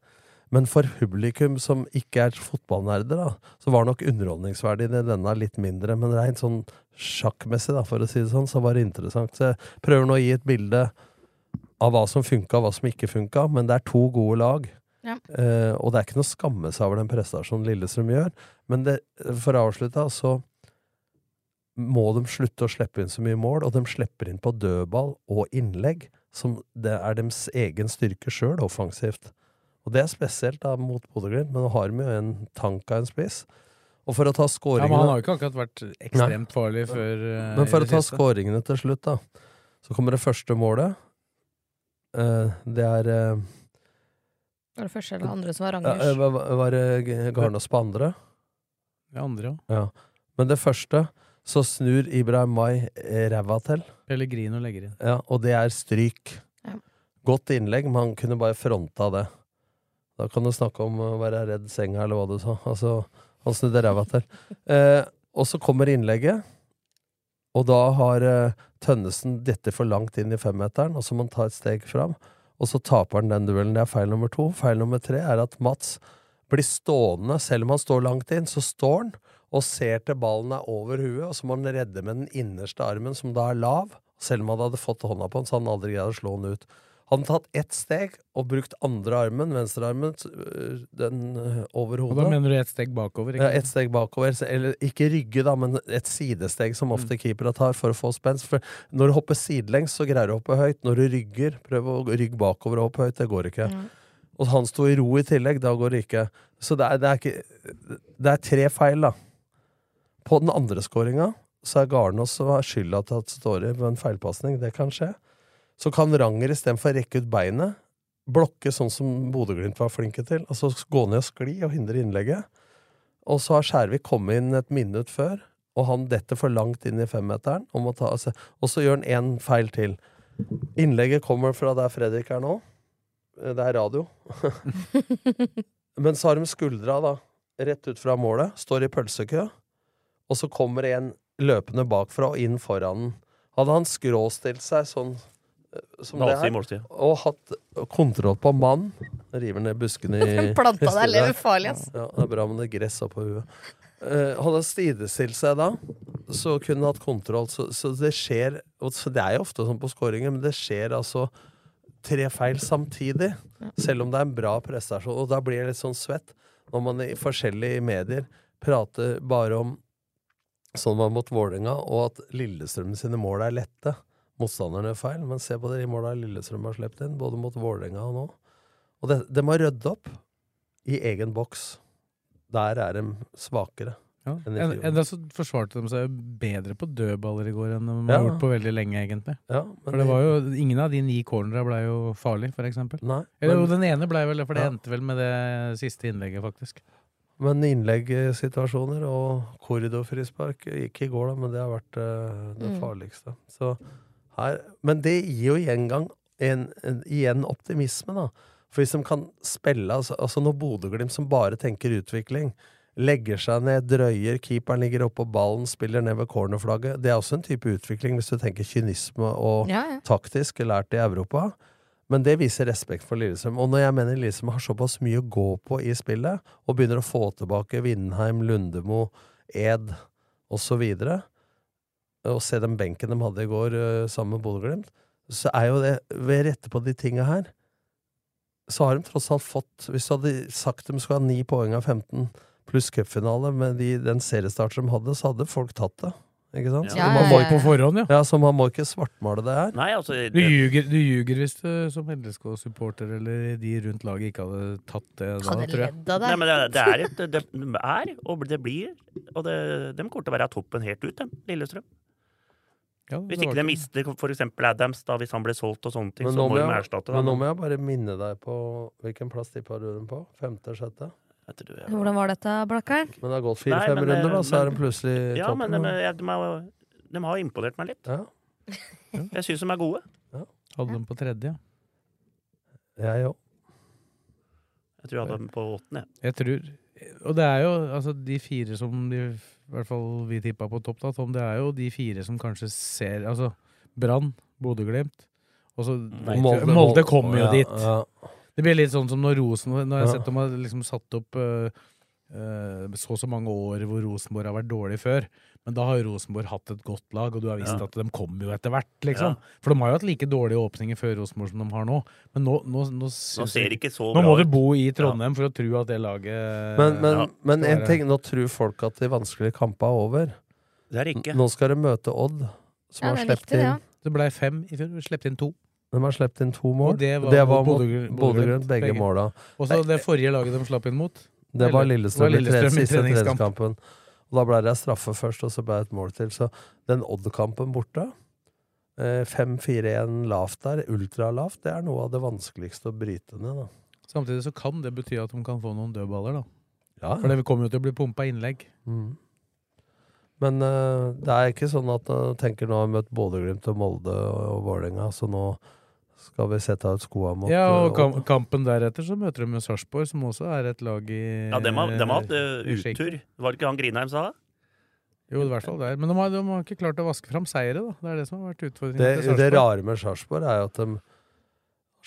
S6: Men for publikum som ikke er fotballnerder, da, så var nok underholdningsverdien i denne litt mindre. Men rent sånn sjakkmessig, da, for å si det sånn, så var det interessant. Så jeg prøver nå å gi et bilde av hva som funka, og hva som ikke funka, men det er to gode lag.
S5: Ja.
S6: Eh, og det er ikke noe å skamme seg over den prestasjonen Lillestrøm gjør. Men det, for å avslutte, da, så må de slutte å slippe inn så mye mål, og de slipper inn på dødball og innlegg, som det er deres egen styrke sjøl, offensivt. Og det er spesielt da mot Bodø-Glimt, men nå har de jo en tank av en spiss. Og for å ta
S4: Ja,
S6: skåringene
S4: men han har jo ikke akkurat vært
S6: Nei.
S4: ekstremt farlig før eh,
S6: Men
S4: i
S6: for å
S4: det
S6: ta
S4: siste.
S6: skåringene til slutt, da. Så kommer det første målet. Eh, det er eh,
S5: Var det første eller andre som var
S6: ja, eh,
S5: Rangers?
S6: hva- hva- Var det G- Garnås på andre?
S4: Det andre òg.
S6: Ja. Men det første, så snur Ibrahim Mai eh, ræva til.
S4: Pellegrino legger inn.
S6: Ja, og det er stryk. Godt innlegg, men han kunne bare fronta det. Da kan du snakke om å være redd senga, eller hva du sa. Altså, han snudde ræva til. Eh, og så kommer innlegget, og da har eh, Tønnesen dette for langt inn i femmeteren, og så må han ta et steg fram. Og så taper han den duellen. Det er feil nummer to. Feil nummer tre er at Mats blir stående, selv om han står langt inn, så står han og ser til ballen er over huet, og så må han redde med den innerste armen, som da er lav, selv om han hadde fått hånda på den, så hadde han aldri greid å slå den ut. Han hadde tatt ett steg og brukt andre armen, venstre armen, s- øh, den øh, over
S4: Og
S6: hodet.
S4: da mener du ett steg bakover?
S6: Ja, et steg bakover. så- Eller ikke rygge, da, men et sidesteg som ofte keepere tar for å få spenst. For når du hopper sidelengs, så greier du å hoppe høyt. Når du rygger, prøv å rygge bakover og hoppe høyt. Det går ikke. Og han sto i ro i tillegg. Da går det ikke. Så det er, det er, ikke, det er tre feil, da. På den andre skåringa så er Garnås som har skylda til at Ståre ved en feilpasning. Det kan skje. Så kan Ranger istedenfor å rekke ut beinet, blokke sånn som Bodø-Glimt var flinke til. Altså gå ned og skli og hindre innlegget. Og så har Skjærvik kommet inn et minutt før, og han detter for langt inn i femmeteren. Og, må ta, altså, og så gjør han én feil til. Innlegget kommer fra der Fredrik er nå. Eh, Det er radio. Men så har de skuldra, da, rett ut fra målet, står i pølsekø, og så kommer det en løpende bakfra og inn foran den. Hadde han skråstilt seg sånn eh, som det
S7: Nase i
S6: her,
S7: målsida.
S6: og hatt kontroll på mannen River ned buskene i
S5: Den planta der
S6: i stedet.
S5: lever farlig, ass.
S6: Ja, det er bra med det gress oppå huet. Eh, hadde han sidestilt seg da, så kunne han hatt kontroll. Så, så det skjer og så Det er jo ofte sånn på skåringer, men det skjer altså tre feil samtidig. Selv om det er en bra prestasjon. Og da blir jeg litt sånn svett når man i forskjellige medier prater bare om sånn var mot Vålerenga, og at Lillestrøm sine mål er lette. Motstanderne gjør feil, men se på de måla Lillestrøm har sluppet inn, både mot Vålerenga og nå. Og det, de må rydde opp i egen boks. Der er de svakere.
S4: Ja.
S6: enn i
S4: En-
S6: fjor.
S4: Enda så forsvarte de seg jo bedre på dødballer i går enn de
S6: Ja.
S4: har gjort på veldig lenge, egentlig.
S6: Ja,
S4: for det var jo, ingen av de ni cornera blei jo farlig, for eksempel.
S6: Nei,
S4: Eller jo,
S6: men-
S4: den ene blei vel det, for det
S6: Ja.
S4: endte vel med det siste innlegget, faktisk.
S6: Men innleggsituasjoner og korridorfrispark Ikke i går, da, men det har vært eh, det
S4: Mm.
S6: farligste. Så her, men det gir jo gjengang en, en, igjen optimisme, da. For hvis de kan spille Altså, altså når Bodø-Glimt, som bare tenker utvikling, legger seg ned, drøyer, keeperen ligger oppå ballen, spiller ned ved cornerflagget Det er også en type utvikling, hvis du tenker kynisme og
S8: Ja, ja.
S6: taktisk, lært i Europa. Men det viser respekt for Lillestrøm. Og når jeg mener Lillestrøm har såpass mye å gå på i spillet, og begynner å få tilbake Vindheim, Lundemo, Ed osv., og se den benken de hadde i går eh, sammen med Bodø-Glimt, så er jo det Ved å rette på de tinga her, så har de tross alt fått Hvis du hadde sagt de skulle ha ni poeng av 15 pluss cupfinale med de, den seriestarten de hadde, så hadde folk tatt det. Ikke sant?
S4: Ja,
S6: Så
S4: ja,
S6: man må
S4: ja,
S6: ikke-
S4: ja. På forhånd, ja.
S6: ja. Så man må ikke svartmale det her.
S7: Nei, altså
S4: Du ljuger, du ljuger hvis du som LSK-supporter eller de rundt laget ikke hadde tatt det da, tror jeg.
S7: Nei, men det, det er et det, det er, og det blir Og det, de kommer til å være av toppen helt ut, dem, Lillestrøm. hvis
S6: det var
S7: ikke de mister f.eks. Adams, da, hvis han blir solgt og sånne ting,
S6: Men
S7: så
S6: nå,
S7: må
S6: må
S7: de
S6: jeg,
S7: erstatte
S6: men nå
S7: ham.
S6: må jeg bare minne deg på hvilken plass de har røren på. Femte, sjette?
S5: Hvordan var dette, Blakkern?
S6: Men det har gått
S7: Nei,
S6: fire-fem
S7: men,
S6: runder, da,
S7: eh,
S6: så er
S7: men-
S6: den plutselig i
S7: Ja, men eh,
S6: toppen.
S7: de,
S6: da.
S7: ja, de, har, de har imponert meg litt. Jeg syns de er gode.
S4: Hadde dem på tredje.
S6: Jeg òg.
S7: Jeg tror jeg hadde dem på åttende. jeg.
S4: Jeg tror Og det er jo altså de fire som de, i hvert fall vi tippa på topp, da, Tom, det er jo de fire som kanskje ser Altså Brann, Bodø-Glimt og så
S6: Mm. Molde-
S4: Molde kommer
S6: Ja,
S4: jo dit.
S6: ja.
S4: Det blir litt sånn som når Rosen Når jeg har
S6: Ja.
S4: sett dem har liksom satt opp øh, øh, så og så mange år hvor Rosenborg har vært dårlig før. Men da har jo Rosenborg hatt et godt lag, og du har visst
S6: Ja.
S4: at de kommer jo etter hvert.
S6: Ja.
S4: liksom. For de har jo hatt like dårlige åpninger før Rosenborg som de har nå. Men nå, nå, nå, syns
S7: ser
S4: jeg-
S7: det ikke så
S4: Nå
S7: bra ut.
S4: må du bo i Trondheim for å tro at det laget
S6: Men, men,
S4: Ja.
S6: men
S4: skal
S6: en
S4: være-
S6: ting, nå tror folk at de vanskelige kampene er over.
S7: Det er det ikke.
S6: N- Nå skal de møte Odd, som
S4: Ja,
S6: har
S4: det er
S6: sluppet
S4: viktig, det,
S6: inn
S4: ja. Det blei fem i fjor. Sluppet inn to.
S6: De har sluppet inn to mål.
S4: Og det var,
S6: mot Bodø-Glimt, begge måla.
S4: Og så det forrige laget de slapp inn mot.
S6: Det var
S4: Eller-
S6: Lillestrøm,
S4: var
S6: i tre, siste
S4: treningskamp.
S6: treningskampen. Og da ble det straffe først, og så ble det et mål til. Så den Odd-kampen borte eh, 5-4-1 lavt der, ultralavt, det er noe av det vanskeligste å bryte ned. da.
S4: Samtidig så kan det bety at de kan få noen dødballer, da.
S6: Ja.
S4: For det kommer jo til å bli pumpa innlegg.
S6: Mm. Men eh, det er ikke sånn at uh, tenker nå har vi møtt Bodø-Glimt og Molde og, og Vålerenga, så nå skal vi sette ut skoa mot
S4: ja,
S6: eh,
S4: og kam
S6: Odd.
S4: kampen deretter så møter de jo Sarpsborg, som også er et lag i
S7: Ja, dem har, dem har hatt eh,
S4: i skikk.
S7: uttur. Var det ikke han Grinheim sa?
S4: Jo, i hvert fall der. Men de har, de har ikke klart å vaske fram seire, da. Det er det som har vært utfordringen
S6: det,
S4: til
S6: det
S4: Sarpsborg.
S6: rare med Sarpsborg er jo at de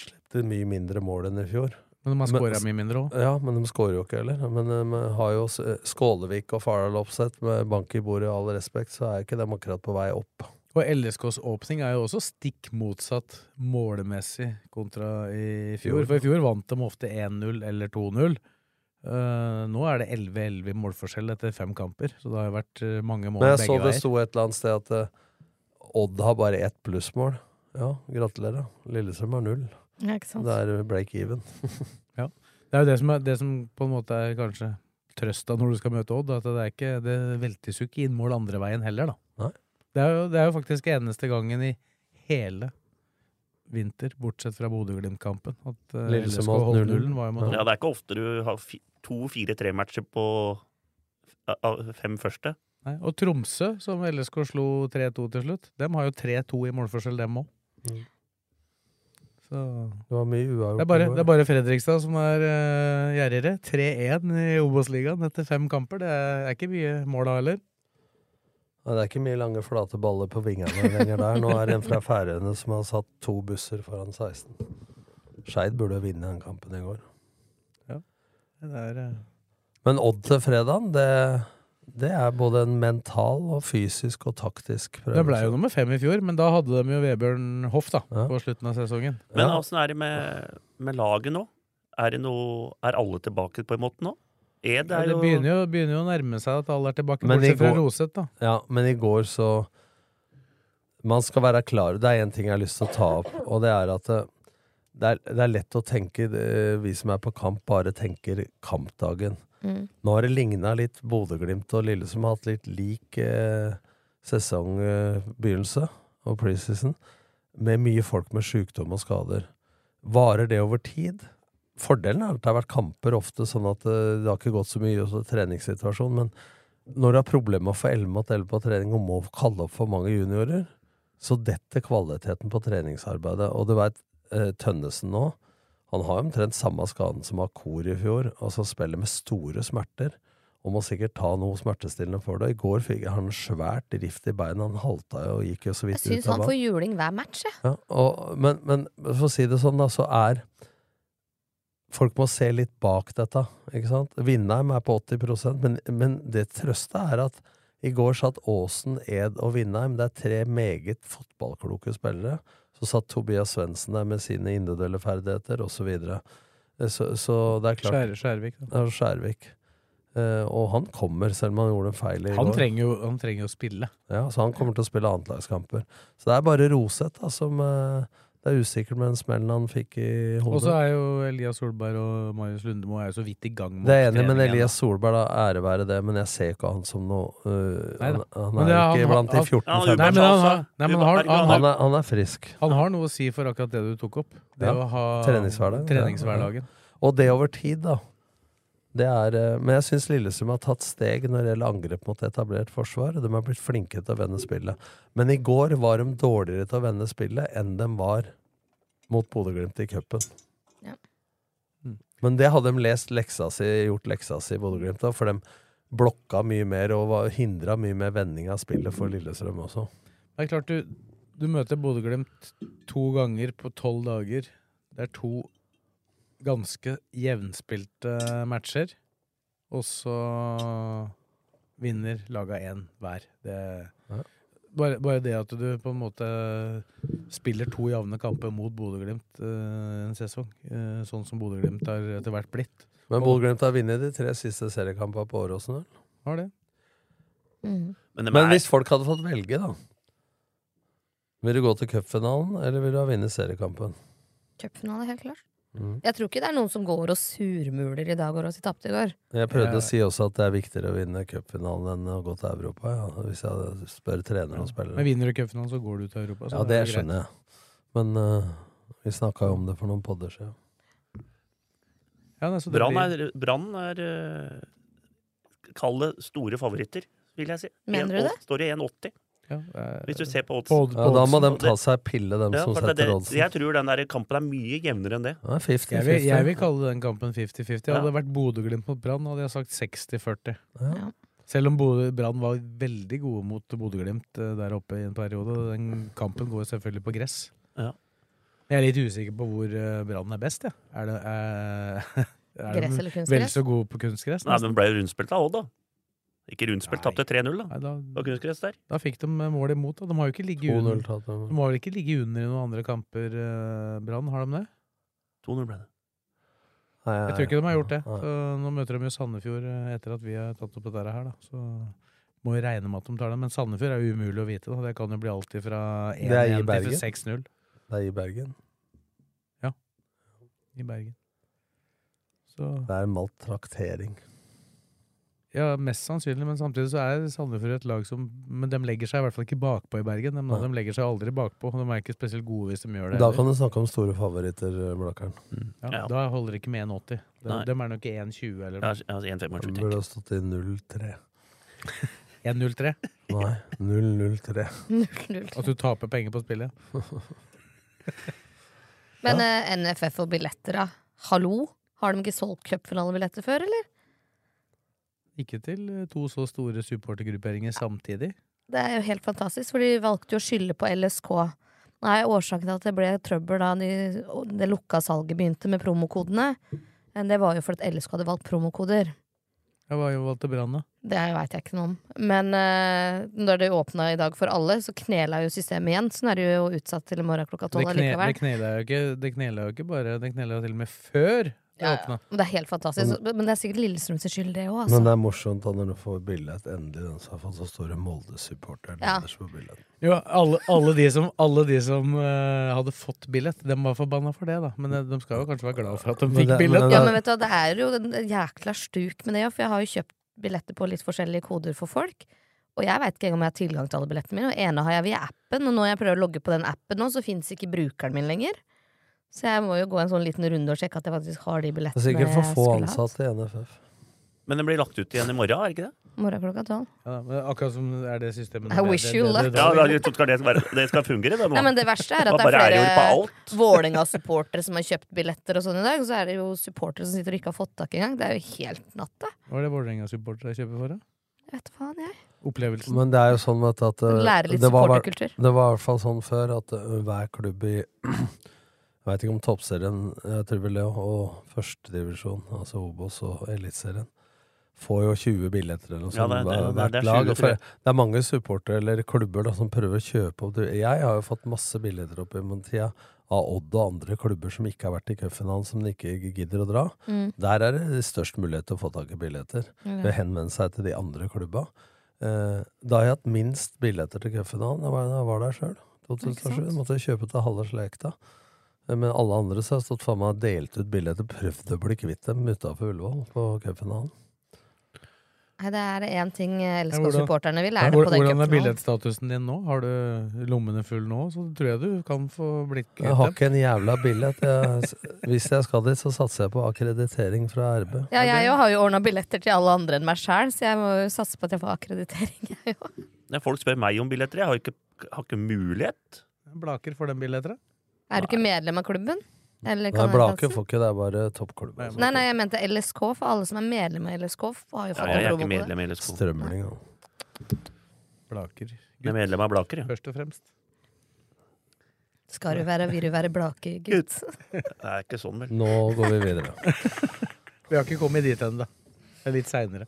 S6: slipper inn mye mindre mål enn i fjor.
S4: Men de har scoret mye mindre også.
S6: Ja, men de skårer jo ikke heller. Men de har jo s- eh, Skålevik og Fardal Opseth med bank i bordet, all respekt, så er jo ikke dem akkurat på vei opp.
S4: Og LSKs åpning er jo også stikk motsatt målemessig kontra i
S6: Fjor.
S4: fjor. For i fjor vant de ofte 1-0 eller 2-0. Eh, nå er det 11-11 i målforskjell etter fem kamper, så det har jo vært eh, mange mål
S6: Men jeg
S4: begge
S6: så det
S4: veier.
S6: sto et eller annet sted at eh, Odd har bare ett plussmål. Ja, gratulerer. Lillestrøm har null.
S5: Ja, ikke sant.
S6: Det er eh, break even.
S4: Ja. Det er jo det som, er, det som på en måte er kanskje trøsta når du skal møte Odd, at det er ikke det veltes jo ikke inn mål andre veien heller, da.
S6: Nei.
S4: Det er, jo, det er jo faktisk eneste gangen i hele vinter, bortsett fra Bodø-Glimt-kampen, at eh,
S6: Lillestrøm
S4: LSK
S6: holdt
S4: holdt
S6: nullen.
S4: nullen. Var
S7: Ja,
S4: jo mot
S7: det er ikke ofte du har fi, to fire-tre-matcher på eh, av fem første.
S4: Nei, og Tromsø, som LSK slo 3-2 til slutt, dem har jo 3-2 i målforskjell, dem òg.
S6: Mm.
S4: Så
S6: Det var mye uavgjort.
S4: det er, bare,
S6: i går.
S4: det er bare Fredrikstad som er uh, gjerrigere. 3-1 i Obos-ligaen etter fem kamper. Det er, er ikke mye mål da heller.
S6: Nei, det er ikke mye lange flate baller på vingene lenger der. Nå er det en fra Færøyene som har satt to busser foran 16. Skeid burde jo vinne den kampen i går.
S4: Det er, eh,
S6: Men Odd til fredagen, det, det er både en mental og fysisk og taktisk prøvelse.
S4: det ble jo nummer fem i fjor, men da hadde de jo Vebjørn Hoff da, på slutten av sesongen.
S7: Men åssen er det med, med laget nå? Er, det noe, er alle tilbake på en måte nå? Ed
S4: Ja,
S7: er
S4: det
S7: jo
S4: begynner jo, begynner jo å nærme seg at alle er tilbake,
S6: Men i
S4: bortsett fra
S6: går-
S4: Roseth, da.
S6: Ja, men i går så Man skal være klar. Det er én ting jeg har lyst til å ta opp, og det er at det, det, er, det er lett å tenke eh, Vi som er på kamp, bare tenker kampdagen.
S5: Mm.
S6: Nå har det ligna litt Bodø-Glimt og Lillesund har hatt litt lik eh, sesongbegynnelse og preseason, med mye folk med sykdom og skader. Varer det over tid? Fordelen er at det har vært kamper ofte, sånn at eh, det har ikke gått så mye i også treningssituasjonen, men når du har problemer med å få 11 mot 11 på trening og må kalle opp for mange juniorer, så detter kvaliteten på treningsarbeidet. Og du veit, Tønnesen nå, han har omtrent samme skaden som Akor i fjor, og så spiller med store smerter. Og må sikkert ta noe smertestillende for det. I går fikk han svært rift i beina, han halta jo og gikk jo så
S5: Jeg
S6: vidt
S5: syns
S6: ut av
S5: han får
S6: banen.
S5: juling hver match, jeg.
S6: Ja, og, men, men for å si det sånn, da, så er Folk må se litt bak dette, ikke sant? Vindheim er på 80 men, men det trøste er at i går satt Aasen, Ed og Vindheim. Det er tre meget fotballkloke spillere. Så satt Tobias Svendsen der med sine individuelle ferdigheter, osv. Så, videre. Eh, så Så det er klart
S4: Skjær, Skjærvik. Da.
S6: Ja, Skjærvik. Eh, og han kommer, selv om han gjorde en feil i
S4: Han
S6: går.
S4: trenger jo, han trenger jo å spille.
S6: Ja, så han kommer til å spille annetlagskamper. Så det er bare Roseth da, som eh, Det er usikkert med den smellen han fikk i
S4: Og så
S6: hodet.
S4: er jo Elias Solberg og Marius Lundemo er jo så vidt i gang
S6: Det er enig, men
S4: treningen, da.
S6: Elias Solberg, da, ære være det, men jeg ser ikke han som noe eh,
S4: Neida.
S6: han,
S4: Men
S6: han
S4: det
S6: er
S4: er-
S6: ikke
S4: han-
S6: blant de
S4: han-
S6: 14
S4: Nei, men han har- nei, men han har- han har-
S6: han, er, han er frisk.
S4: Han har noe å si for akkurat det du tok opp. Det
S6: Ja.
S4: å ha
S6: Treningshverdag.
S4: treningshverdagen.
S6: Ja. Og det over tid, da. Det er, eh, men jeg syns Lillestrøm har tatt steg når det gjelder angrep mot etablert forsvar. De har blitt flinke til å vende spillet. Men i går var de dårligere til å vende spillet enn de var mot Bodø-Glimt i cupen.
S5: Ja.
S6: Men det hadde de lest leksa si, gjort leksa si i Bodø-Glimt, da, for de blokka mye mer og hindra mye mer vending av spillet for Lillestrøm også.
S4: Det er klart du, du møter Bodø-Glimt to ganger på tolv dager. Det er to ganske jevnspilte matcher, og så vinner laga én hver. Det, bare, bare det at du på en måte spiller to jevne kamper mot Bodø-Glimt eh, en sesong, eh, sånn som Bodø-Glimt har etter hvert blitt.
S6: Men
S4: Og-
S6: Bodø-Glimt har vunnet de tre siste seriekampene på Åråsen. eller?
S4: Har det.
S5: Mm.
S7: Men,
S6: Men, hvis folk hadde fått velge, da Vil du gå til cupfinalen, eller vil du ha vunnet seriekampen?
S5: Cupfinale, helt klart.
S6: Mhm.
S5: Jeg tror ikke det er noen som går og surmuler i dag og også tapte i går.
S6: Jeg prøvde
S4: Eh.
S6: å si også at det er viktigere å vinne cupfinalen enn å gå til Europa, ja, hvis jeg hadde- spør trenere og spillere.
S4: Men vinner du cupfinalen, så går du til Europa. så
S6: Ja, det
S4: er greit.
S6: skjønner jeg. Men eh, vi snakka jo om det for noen podder siden.
S4: Ja, nei, så det
S7: Brann
S4: blir-
S7: er, Brann er eh, Kall det store favoritter, vil jeg si.
S4: Mener du
S7: 1,8
S4: det?
S7: Står i 1,80. Hvis du ser på oddsen.
S4: På- på Ja, da må
S6: oddsen. de ta seg pille, dem som
S7: for det-
S6: setter
S7: det-
S6: oddsen.
S7: Jeg tror den der kampen er mye jevnere enn det.
S4: Jeg vil, jeg vil kalle den kampen 50-50. Hadde det
S7: Ja.
S4: vært Bodø-Glimt mot Brann, hadde jeg sagt 60-40.
S6: Ja.
S4: Selv om Bodø- Brann var veldig gode mot Bodø-Glimt eh, der oppe i en periode. og Den kampen går selvfølgelig på gress.
S7: Ja.
S4: Jeg er litt usikker på hvor eh, Brann er best, jeg. Er det, eh, er
S7: Gress eller
S4: de
S7: kunstgress?
S4: vel så gode på kunstgress?
S7: Nei,
S4: nesten?
S7: men ble jo rundspilt av Odd, da. Ikke rundspilt, tapte 3-0, da. På kunstgress der.
S4: Da fikk de mål imot. Og de har jo ikke
S6: 2-0
S4: ligget under,
S6: tapte de.
S4: de har vel ikke ligget under i noen andre kamper, eh, Brann? Har de det?
S7: 2-0 ble det.
S4: Jeg tror ikke de har gjort det. Så nå møter de jo Sandefjord eh, etter at vi har tatt opp dette her, da. Så må vi regne med at de tar det. Men Sandefjord er jo umulig å vite. Da. Det kan jo bli alltid fra
S6: Det er i
S4: 1-1 til
S6: Bergen. Det
S4: 6-0
S6: er i Bergen.
S4: i Bergen.
S6: Det er maltraktering.
S4: Ja, mest sannsynlig, men samtidig så er Sandefjord et lag som Men de legger seg i hvert fall ikke bakpå i Bergen. De, de legger seg aldri bakpå. og De er ikke spesielt gode hvis de gjør det.
S6: Da
S4: heller.
S6: kan du snakke om store favoritter, eh, Blakkaren.
S4: Mm. ja, Da holder det ikke med 1,80. De,
S6: Nei.
S4: de er nok 1,20 eller
S7: Ja, altså 1,25,
S6: Det
S7: tenker
S6: burde ha stått i 0-3.
S4: 1,03.
S6: Nei, 0-0-3.
S4: At du taper penger på spillet.
S5: Men eh, NFF og billetter, da. Hallo? Har de ikke solgt cupfinalebilletter før, eller?
S4: Ikke til eh, to så store supportergrupperinger samtidig.
S5: Det er jo helt fantastisk, for de valgte jo å skylde på LSK. Nei, årsaken til at det ble trøbbel da de, det lukka salget begynte med promokodene, eh, det var jo fordi at LSK hadde valgt promokoder.
S4: Jeg var jo valgt til Brann, da.
S5: Det veit jeg ikke noe om. Men eh, når det åpna i dag for alle, så knela jo systemet igjen. Så nå er det jo utsatt til i morgen klokka
S4: Det,
S5: tolv
S4: kne, det
S5: allikevel.
S4: knela jo ikke, det knela jo ikke bare, det knela jo til og med før det
S5: Ja, ja.
S4: åpna.
S5: Men Det er helt fantastisk.
S7: Mm.
S5: Men det er sikkert Lillestrøms skyld, det òg, altså.
S6: Men det er morsomt da når du får billett, endelig den som har fått så store Molde-supporter
S5: Ja.
S6: nederst på billetten.
S4: Jo, alle, alle de som, alle de som eh, hadde fått billett, de var forbanna for det, da. Men eh, de skal jo kanskje være glad for at de
S6: Men
S4: fikk
S6: det-
S4: billett.
S6: men
S5: Ja, men vet du, hva, det er jo en jækla stuk med det, for jeg har jo kjøpt billetter på litt forskjellige koder for folk. Og jeg veit ikke engang om jeg har tilgang til alle billettene mine. Og ene har jeg via appen, og når jeg prøver å logge på den appen nå, så fins ikke brukeren min lenger. Så jeg må jo gå en sånn liten runde og sjekke at jeg faktisk har de
S6: Det er
S5: billettene
S6: sikkert for
S5: jeg
S6: få
S5: skulle hatt.
S6: ansatte i NFF.
S7: Men den blir lagt ut igjen i morgen, er det ikke det?
S5: Morgen klokka tolv.
S4: Ja, men akkurat som er det systemet
S5: I
S4: der, det-
S5: wish
S4: det-
S5: you
S4: det- det-
S5: luck.
S7: Ja, da, det sånn, skal, det være- det skal fungere, det nå.
S5: Nei, men det verste er
S7: Hva
S5: at det
S7: bare
S5: er
S7: jo på alt?
S5: flere Vålerenga-supportere som har kjøpt billetter og sånn i dag. Så er det jo supportere som sitter og ikke har fått tak engang. Det er jo helt natta.
S4: Hva er det Vålerenga-supportere kjøper for, da?
S5: Vet faen jeg.
S4: Opplevelsen.
S6: Men det er jo sånn vet du, at eh,
S5: Lære litt
S6: det, var, hver-
S5: supporterkultur.
S6: det var i hvert fall sånn før at eh, hver klubb i Jeg veit ikke om toppserien, jeg tror vel det, og førstedivisjon, altså Obos og Eliteserien, får jo 20 billetter eller noe
S7: Ja,
S6: sånt
S7: det er- det er-
S6: hver-
S7: det er- det
S6: hvert
S7: er
S6: lag.
S7: 20,
S6: For
S7: tror jeg.
S6: det er mange supportere eller klubber da, som prøver å kjøpe opp Jeg har jo fått masse billetter opp gjennom tida av Odd og andre klubber som ikke har vært i cupfinalen, som de ikke gidder å dra.
S8: Mm.
S6: Der er det størst mulighet til å få tak i billetter.
S8: Ja.
S6: Ved å henvende seg til de andre klubba. Eh, da har jeg hatt minst billetter til cupfinalen. Jeg var, jeg var der sjøl. 2007. Måtte jeg kjøpe til halve slekta. Eh, Men alle andre så har jeg stått faen meg og delt ut billetter, prøvd å bli kvitt dem utafor Ullevål på cupfinalen.
S5: Nei, det er én ting
S4: Ja, hvordan-
S5: LSK-supporterne vil,
S4: Ja,
S5: er det på
S4: hvordan-
S5: den
S4: Hvordan er
S5: cupfinalen.
S4: billettstatusen din nå? Har du lommene fulle nå, så tror jeg du kan få blitt
S6: Jeg har ikke en jævla billett. Jeg, hvis jeg skal dit, så satser jeg på akkreditering fra RB.
S5: Ja, jeg jo har jo ordna billetter til alle andre enn meg sjæl, så jeg må jo satse på at jeg får akkreditering. jeg jo.
S7: Når folk spør meg om billetter, jeg har ikke, har ikke mulighet.
S4: Blaker for den billetter, da?
S5: Er du ikke medlem av klubben?
S6: Nei,
S5: Eller kan jeg
S6: Blake
S5: kanskje-
S6: får ikke det, er bare altså. toppklubben.
S5: Nei, nei, jeg mente LSK, for alle som er medlem av LSK, har jo
S7: Ja,
S5: fått
S7: jeg er
S5: en
S7: ikke
S5: promo på det.
S7: medlem i LSK.
S6: Strømling, ja.
S4: Blaker.
S7: Jeg er medlem av Blaker, ja.
S4: Først og fremst.
S5: Skal du være, vil du være blake, gutt?
S7: Det er ikke sånn, vel.
S6: Nå går vi videre.
S4: Vi har ikke kommet dit ennå. Det er litt seinere.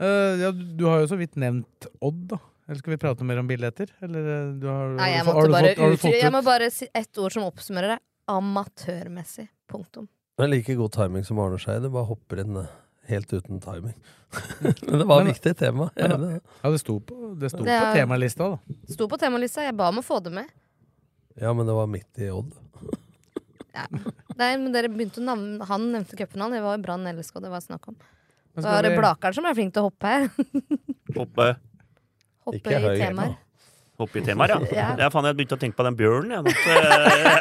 S4: Eh, ja, du du har jo så vidt nevnt Odd, da. Eller skal vi prate mer om billetter? Eller, eh, du har,
S5: Nei, jeg
S4: har
S5: måtte
S4: du
S5: bare
S4: fått- har du fått
S5: uttrykke Jeg
S4: ut-
S5: må bare si ett ord som oppsummerer det. Amatørmessig. Punktum.
S6: Det er like god timing som Arne Skei. Det bare hopper inn eh, helt uten timing. Men det var et
S4: Men-
S6: viktig tema. Jeg er enig i det.
S4: Ja, det sto på, det sto
S5: Det
S4: på
S5: er-
S4: temalista, da.
S5: Sto på temalista, jeg ba om å få det med.
S6: Ja, men det var midt i Odd.
S5: Nei, men dere begynte å navne, Han nevnte cupfinalen, det var jo Brann LSK det var snakk om.
S4: Men
S5: Så
S4: skal
S5: er det
S4: vi-
S5: Blakeren som er flink til å hoppe her.
S7: Hoppe,
S5: Hoppe
S7: Ikke
S5: i
S7: høy,
S5: temaer.
S7: hoppe i temaer, ja.
S5: Ja.
S7: Jeg, faen, jeg begynte å tenke på den bjørnen, jeg. nå. Så Jeg,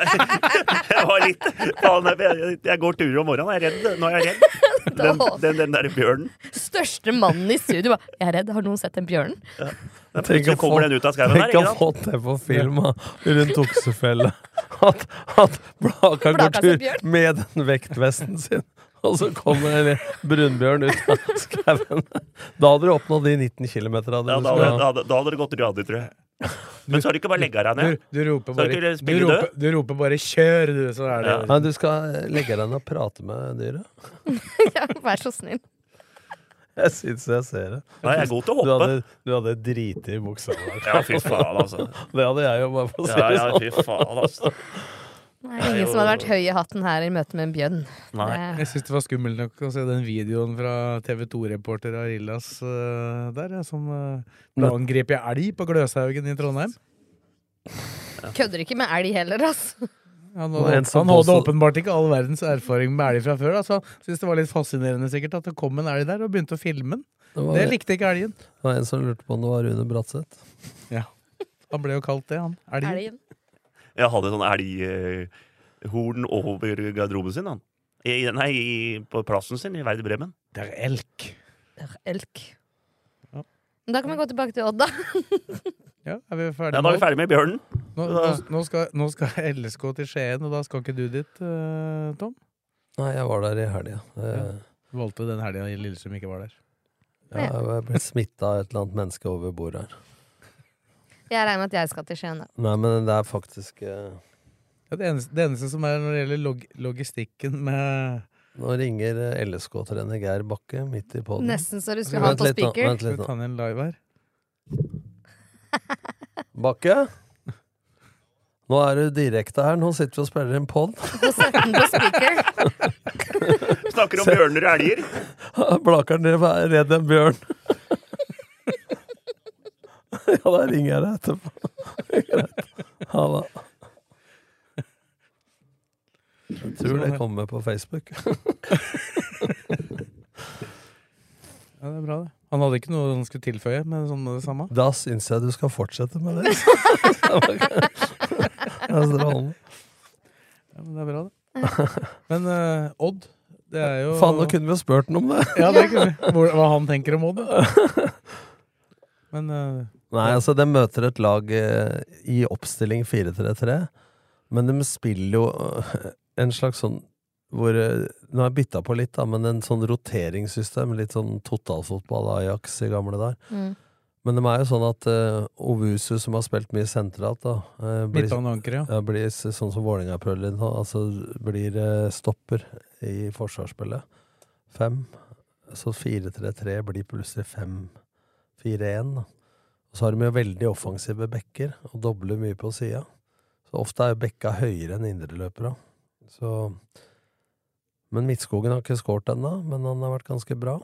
S7: jeg var litt faen, jeg, jeg går turer om morgenen, jeg er redd. Nå er jeg redd. Den, den, den der bjørnen.
S5: Største mannen i studio bare 'Jeg er redd, har noen sett den bjørnen?'
S7: Men plutselig kommer den ut av skauen der,
S6: tenk å
S7: ikke sant?
S6: få det på film da, rundt oksefelle. At, at Blakar
S5: Blakar
S6: går
S5: som
S6: tur
S5: bjørn.
S6: med den vektvesten sin, og så kommer en brunbjørn ut av skauen. Da hadde du oppnådd de 19 km.
S7: Ja, da, hadde, da, hadde, da hadde det gått radig, tror jeg. Men så har du ikke bare legga deg
S4: Du,
S7: ned.
S4: du, roper
S7: Så er
S4: bare,
S7: det ikke det
S4: du,
S7: spillet
S4: roper, du roper bare 'kjør', du, så er det
S6: Nei, du skal eh, legge deg ned og prate med dyret.
S5: ja, vær så snill.
S6: Jeg syns jeg ser det.
S7: Nei, jeg er god til å
S6: Du
S7: hoppe.
S6: hadde, du hadde driti i buksa. der.
S7: Ja, fy faen, altså.
S6: Det hadde jeg jo, bare for å si
S7: Ja,
S6: det
S7: ja,
S6: sånn.
S7: fy faen, altså.
S5: Det er ingen som har vært høy i hatten her i møte med en bjønn.
S4: Nei. Jeg syns det var skummelt nok å se den videoen fra TV2-reporter Arillas eh, der, ja, som uh, ble angrepet av elg på Gløshaugen i Trondheim.
S5: Det kødder ikke med elg heller, altså.
S4: Han
S6: Og
S4: hadde,
S6: en som
S4: han hadde
S6: påstod-
S4: åpenbart ikke all verdens erfaring med elg fra før. Da, så han syntes det var litt fascinerende sikkert at det kom en elg der og begynte å filme den.
S6: Det var-
S4: Det likte ikke elgen.
S6: Det var en som lurte på om det var Rune Bratseth.
S4: Han ble jo kalt det, han. Elgen.
S7: Jeg hadde sånn elghorn over garderoben sin, han. I, nei, i, på plassen sin i Werder Bremen.
S4: Det er elk.
S5: Elk. Men da kan vi gå tilbake til Odd, da.
S4: Ja, er vi ferdige
S7: Ja, da er vi ferdig med bjørnen.
S4: Nå, nå, nå, skal, nå skal LSK til Skien, og da skal ikke du dit, eh, Tom?
S6: Nei, jeg var der i Eh, helga.
S4: Ja.
S6: Jeg,
S4: Du valgte den helga Lillestrøm ikke var der.
S6: ja, jeg ble smitta av et eller annet menneske over bordet her.
S5: Jeg regner med at jeg skal til Skien, da.
S6: Nei, men det er faktisk eh,
S4: Ja, det, eneste, det eneste som er når det gjelder log logistikken med
S6: Nå ringer eh, LSK-trener Geir Bakke midt i poden.
S5: Nesten så du skulle ha den på speaker.
S6: Vent litt
S4: Skal vi
S6: nå.
S4: ta ned en live her?
S6: Bakke? Nå er du direkte her. Nå sitter vi og spiller en pod.
S7: Snakker om bjørner og elger.
S6: Blakeren drev er redd en bjørn. ja, da ringer jeg deg etterpå. Greit. Ha det. Jeg
S4: sånn
S6: tror det kommer på Facebook.
S4: Ja, det er bra, det. Han hadde ikke noe han skulle tilføye med sånn med det samme.
S6: Da syns jeg du skal fortsette med det. Det er strålende.
S4: Ja, men det er bra, det. Men eh, Odd, det er jo
S6: Faen, nå kunne vi jo spurt ham om det!
S4: Ja, det kunne vi. Hvor- Hva han tenker om Odd. da. Men eh,
S6: Nei, altså, de møter et lag eh, i oppstilling 4-3-3, men de spiller jo eh, en slags sånn hvor eh, Nå har jeg bytta på litt, da, men en sånn roteringssystem, litt sånn totalfotball Ajax i gamle dager.
S5: Mm.
S6: Men de er jo sånn at eh, Ovusu, som har spilt mye sentralt, da eh, blir,
S4: midtbaneankeret, ja.
S6: ja, blir s- sånn som Vålerenga prøver litt nå, altså blir eh, stopper i forsvarsspillet. Fem. Så 4-3-3 blir plutselig 5-4-1. da. Og så har de jo veldig offensive bekker, og dobler mye på sida. Så ofte er jo bekka høyere enn indreløpere. Så Men Midtskogen har ikke skåret ennå, men han har vært ganske bra.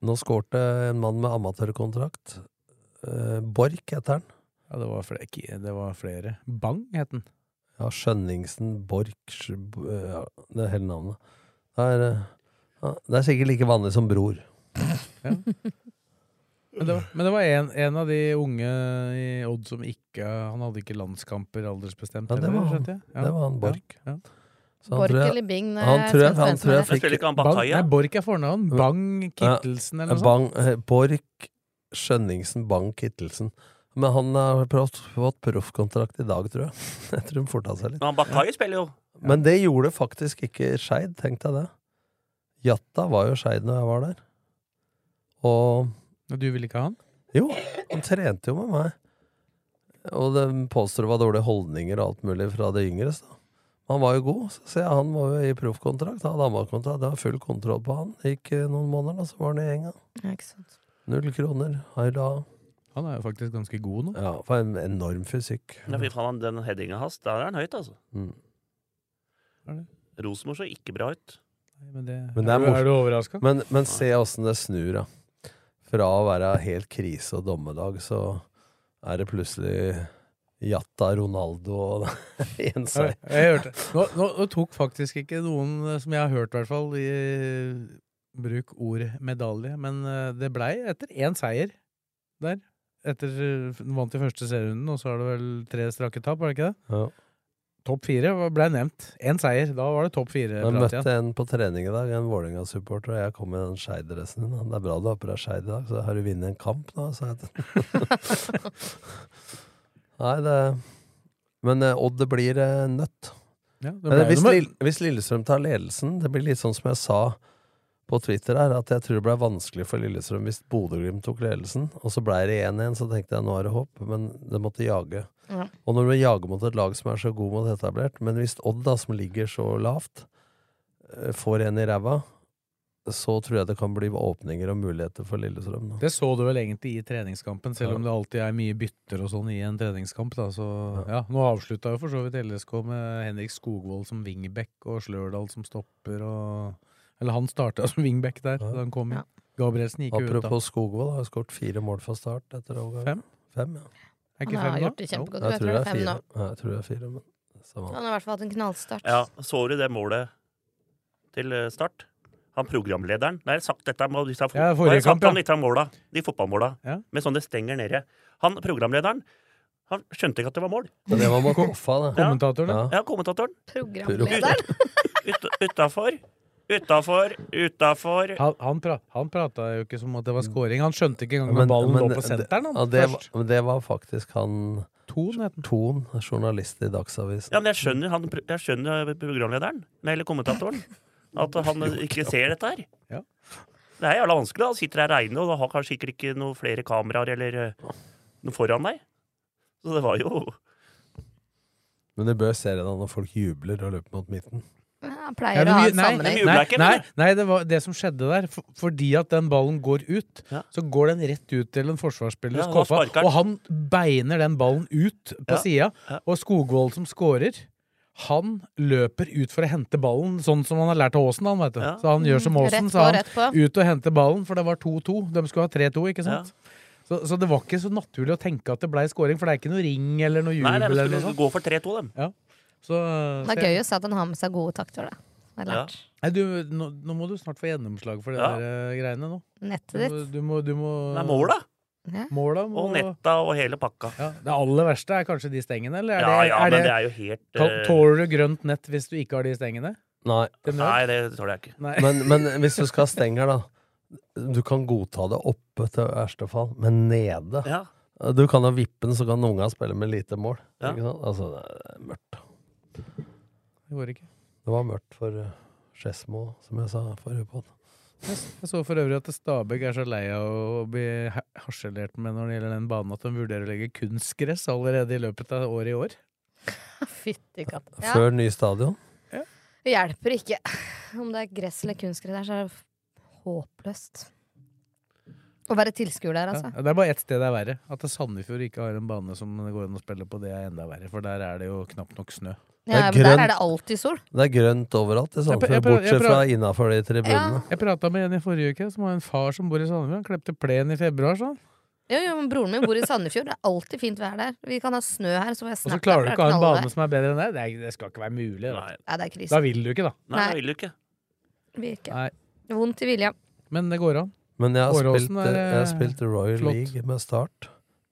S6: Nå skårte en mann med amatørkontrakt. Eh, Borch heter han.
S4: ja det, var flere, ikke- det var flere. Bang het den.
S6: Ja, Skjønningsen, Borch ja, Det er hele navnet. Det er, eh, ja, det er sikkert like vanlig som Bror.
S4: Men det var, men det var en, en av de unge i Odd som ikke Han hadde ikke landskamper aldersbestemt.
S6: Ja, det
S4: heller,
S6: var han.
S4: skjønte jeg. Ja.
S6: Det var han Borch.
S4: Ja, ja.
S6: Så han
S5: Bork
S6: tror jeg-
S5: eller Bing. når
S6: han
S5: jeg
S6: tror jeg-
S5: skal
S6: han
S5: spenne
S6: tror jeg
S5: meg.
S7: Jeg spiller ikke han
S4: Bang,
S7: Bakaya.
S4: nei, Borch er fornavn. Bang Kittelsen eller noe sånt.
S6: Bang, eh, Borch, Skjønningsen, Bang, Kittelsen. Men han har prøvd, fått proffkontrakt i dag, tror jeg. Jeg tror han forta seg litt.
S7: Men han Bakaya spiller jo.
S6: Men det gjorde faktisk ikke Skeid, tenkte jeg det. Jatta var jo Skeid når jeg var der. Og
S4: Og du vil ikke ha han?
S6: Jo, han trente jo med meg. Og de påstår det var dårlige holdninger og alt mulig fra det yngres. da. Han var jo god, så ser jeg han var jo i proffkontrakt. Han hadde amatørkontrakt, det var full kontroll på han. Gikk eh, noen måneder, da, så var han i gjenga.
S5: Ja, ikke sant.
S6: Null kroner. Heila.
S4: Han er jo faktisk ganske god nå.
S6: Ja, for en enorm fysikk.
S7: Ja, fy faen, han- den headinga hans, der er han høyt, altså.
S6: Mm.
S7: Rosenborg så ikke bra ut.
S4: Men det,
S6: Men det er,
S4: er, du
S6: morsomt.
S4: overraska?
S6: Men, men se åssen det snur, da. Fra å være helt krise og dommedag, så er det plutselig Jatta Ronaldo og en seier.
S4: Jeg, jeg hørte. Nå, nå, nå tok faktisk ikke noen eh, som jeg har hørt, i hvert fall, i bruk ord medalje, men eh, det blei etter én seier der. Etter eh, Vant i første serierunden, og så har det vel tre strake tap, var det ikke det?
S6: Ja.
S4: Topp fire var- blei nevnt. Én seier. Da var det topp fire.
S6: Jeg
S4: prat igjen.
S6: møtte en på trening i dag, en Vålerenga-supporter, og jeg kom i den Skeid-dressen din. Det er bra du har på deg Skeid i dag, så har du vunnet en kamp nå, sa jeg til ham. Nei, det Men eh, Odd, det blir eh, nødt.
S4: Ja, det
S6: Men
S4: ble
S6: hvis,
S4: nummer-
S6: Lill- hvis Lillestrøm tar ledelsen, det blir litt sånn som jeg sa på Twitter her, at jeg tror det ble vanskelig for Lillestrøm hvis Bodø-Glimt tok ledelsen, og så ble det 1-1, så tenkte jeg nå er det håp, men det måtte jage.
S5: Ja.
S6: Og når du jager mot et lag som er så god mot etablert, men hvis Odd, da, som ligger så lavt, eh, får en i ræva, så tror jeg det kan bli åpninger og muligheter for Lillestrøm. Da.
S4: Det så du vel egentlig i treningskampen, selv
S6: Ja.
S4: om det alltid er mye bytter og sånn i en treningskamp. Da. Så, ja, nå avslutta jo for så vidt LSK med Henrik Skogvold som wingback og Slørdal som stopper og Eller han starta som wingback der da han kom inn. Gabrielsen gikk jo ut, da.
S6: Apropos Skogvold, har jo skåret fire mål fra start etter overgang.
S4: Fem?
S6: Fem, ja.
S4: Er
S5: Han har gjort det kjempegodt. Jeg tror det er fem
S6: fire.
S5: nå.
S6: Ja, jeg tror det er fire, men samme.
S5: Han har i hvert fall hatt en knallstart.
S7: Ja, Så du det målet til eh, start? Han programlederen Nei, jeg har sagt dette om disse fo-
S4: Ja, forrige
S7: Nå har jeg sagt
S4: kamp, ja.
S7: om disse måla, de fotballmåla,
S4: Ja.
S7: med sånne stenger nede. Han programlederen han skjønte ikke at det var mål.
S6: Men det var mot Koffa, det.
S4: Kommentatoren,
S6: ja.
S7: Ja, kommentatoren.
S5: Programlederen.
S7: Ut, utafor, utafor, utafor
S4: Han, han, pra, han prata jo ikke som at det var scoring. Han skjønte ikke engang
S6: Mm. Men-
S4: når ballen
S6: men
S4: lå på senteren. Han,
S6: ja, det,
S4: først.
S6: var- men det var faktisk han
S4: Thon, het han.
S6: Thon, journalist i Dagsavisen.
S7: Ja, men jeg skjønner, han, pro- jeg skjønner programlederen, nei, eller kommentatoren, at han ikke ser dette her.
S4: Ja.
S7: Det er jævla vanskelig. da. Han sitter her reine, og har kanskje sikkert ikke noen flere kameraer eller eh, noe foran deg. Så det var jo
S6: Men du bør se det da når folk jubler og løper mot midten.
S5: Han
S4: Ja,
S5: pleier
S4: men
S5: å ha
S4: vi-
S5: en
S4: nei,
S5: sammenheng.
S4: Nei,
S7: Jubler ikke,
S4: nei,
S7: mener
S4: nei, det var det som skjedde der. For, fordi at den ballen går ut,
S7: Ja.
S4: så går den rett ut til en forsvarsspiller
S7: Ja, han
S4: hos Koffa,
S7: sparker den.
S4: og han beiner den ballen ut på
S7: Ja,
S4: sida.
S7: ja.
S4: Og Skogvold som scorer, han løper ut for å hente ballen, sånn som han har lært av Aasen, han, vet du.
S7: Ja.
S4: Så han gjør som
S5: Rett
S4: Aasen,
S5: på,
S4: så han
S5: rett på.
S4: ut og hente ballen, for det var 2-2. De skulle ha 3-2, ikke sant? Så, så det var ikke så naturlig å tenke at det blei scoring, for det er ikke noe ring eller noe jubel
S7: Nei, nei, de
S4: eller noe
S7: skulle
S4: sånt.
S7: gå for 3-2, dem.
S4: Så,
S5: Det er gøy å se at han har med seg gode takter, da. Det er
S7: Ja.
S5: lært.
S4: Nei, du, nå, nå må du snart få gjennomslag for det
S7: Ja.
S4: der eh, greiene nå. Du må,
S5: Nettet ditt.
S4: du må, du må
S7: Det er måla
S5: Ja.
S4: Måla må
S7: og netta og hele pakka.
S4: ja, Det aller verste er kanskje de stengene, eller? Er
S7: Ja,
S4: det,
S7: ja,
S4: er
S7: men det
S4: det,
S7: er jo helt
S4: kan,
S7: eh,
S4: tåler du grønt nett hvis du ikke har de stengene?
S6: Nei,
S4: Til nød?
S7: Nei, det tåler jeg ikke.
S4: Nei.
S6: men, men hvis du skal stenge her, da. Du kan godta det oppe til verste fall, men nede
S7: Ja.
S6: Du kan ha vippen, så kan unga spille med lite mål.
S7: Ja.
S6: Ikke sant? Altså, det er mørkt.
S4: Det går ikke.
S6: Det var mørkt for eh, Skedsmo, som jeg sa forrige på.
S4: Jeg s- jeg så for øvrig at Stabæk er så lei av å bli ha- harselert med når det gjelder den banen at de vurderer å legge kunstgress allerede i løpet av året i år.
S5: Fytti katta. Ja.
S6: Før ny stadion.
S5: Det hjelper ikke. Om det er gress eller kunstgress der, så er det håpløst. Å være tilskuer der, altså.
S4: Ja, det er bare ett sted det er verre. At Sandefjord ikke har en bane som det går an å spille på, det er enda verre. For der er det jo knapt nok snø.
S6: Det er
S5: Ja, men der
S6: grønt.
S5: er det alltid sol.
S6: Det er grønt overalt, i
S4: Jeg pr- jeg
S6: Sandefjord,
S4: prøver- jeg
S6: bortsett fra
S4: prøver-
S6: innafor de tribunene.
S4: Jeg prata med en i forrige uke som har en far som bor i Sandefjord. Han klepte plen i februar, sa han.
S5: Jo, jo, men Broren min bor i Sandefjord. Det er alltid fint vær der. Vi kan ha snø her. Så får jeg
S4: Og så
S5: snap
S4: klarer du
S5: derfra,
S4: ikke å ha en
S5: knallvær.
S4: bane som er bedre enn det? Det, er, det skal ikke være mulig. Da.
S7: Nei,
S5: Nei, det er
S4: da
S5: krise.
S4: vil du ikke, da.
S7: nei
S5: Nei.
S7: det vil du ikke.
S5: Vi ikke.
S4: Nei.
S5: Vondt i vilja.
S4: Men det går an.
S6: Men jeg har,
S4: Åråsen
S6: spilt,
S4: er,
S6: jeg har
S4: eh,
S6: spilt Royal
S4: flott.
S6: League med start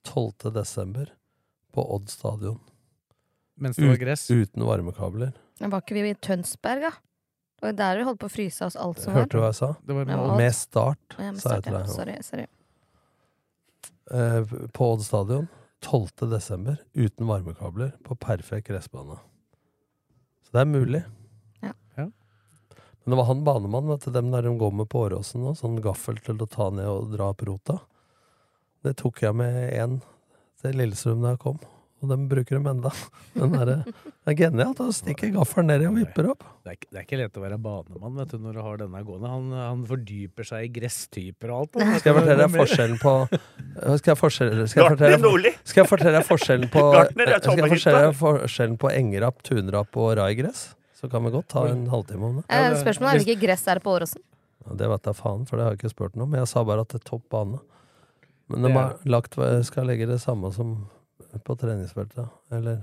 S6: 12. desember på Odd stadion.
S4: Mens det var
S6: Ut,
S4: gress.
S6: uten varmekabler.
S5: Men Var ikke vi i Tønsberg, da? Det var jo der vi holdt på å fryse oss alt som var.
S6: Hørte du hva jeg sa?
S4: Det var
S5: Ja.
S4: mål.
S6: Med start,
S5: Ja, men
S6: sa jeg
S5: start,
S6: til
S5: ja.
S6: deg.
S5: Sorry. sorry.
S6: Eh, På Odd stadion 12. desember uten varmekabler på perfekt gressbane. Så det er mulig.
S5: Ja.
S4: Ja.
S6: Men det var han banemannen, vet du, dem der de går med på Åråsen nå, sånn gaffel til å ta ned og dra opp rota. Det tok jeg med én til Lillestrøm da jeg kom. og den bruker de enda. Den er, det er genialt. Da stikker gaffelen ned i og vipper opp.
S4: Det er, ikke- det er ikke lett å være banemann vet du, når du har denne gående. Han, han fordyper seg i gresstyper og alt. da.
S6: Skal jeg fortelle deg forskjellen på Skal jeg, forskjell, skal jeg,
S4: Gartner
S6: fortelle,
S4: Nordli.
S6: skal jeg fortelle deg forskjellen på
S4: Gartner
S6: Skal
S4: er
S6: jeg
S4: tommelhytta.
S6: fortelle deg forskjellen på engrapp, tunrapp og raigress? Så kan vi godt ta en halvtime om det.
S5: Eh, spørsmålet er hvilket gress er det på Åråsen?
S6: Ja, Det vet jeg faen, for det har jeg ikke spurt noe om. Jeg sa bare at det er topp bane. Men de
S4: Det er
S6: har lagt, skal legge det samme som på treningsfeltet. Eller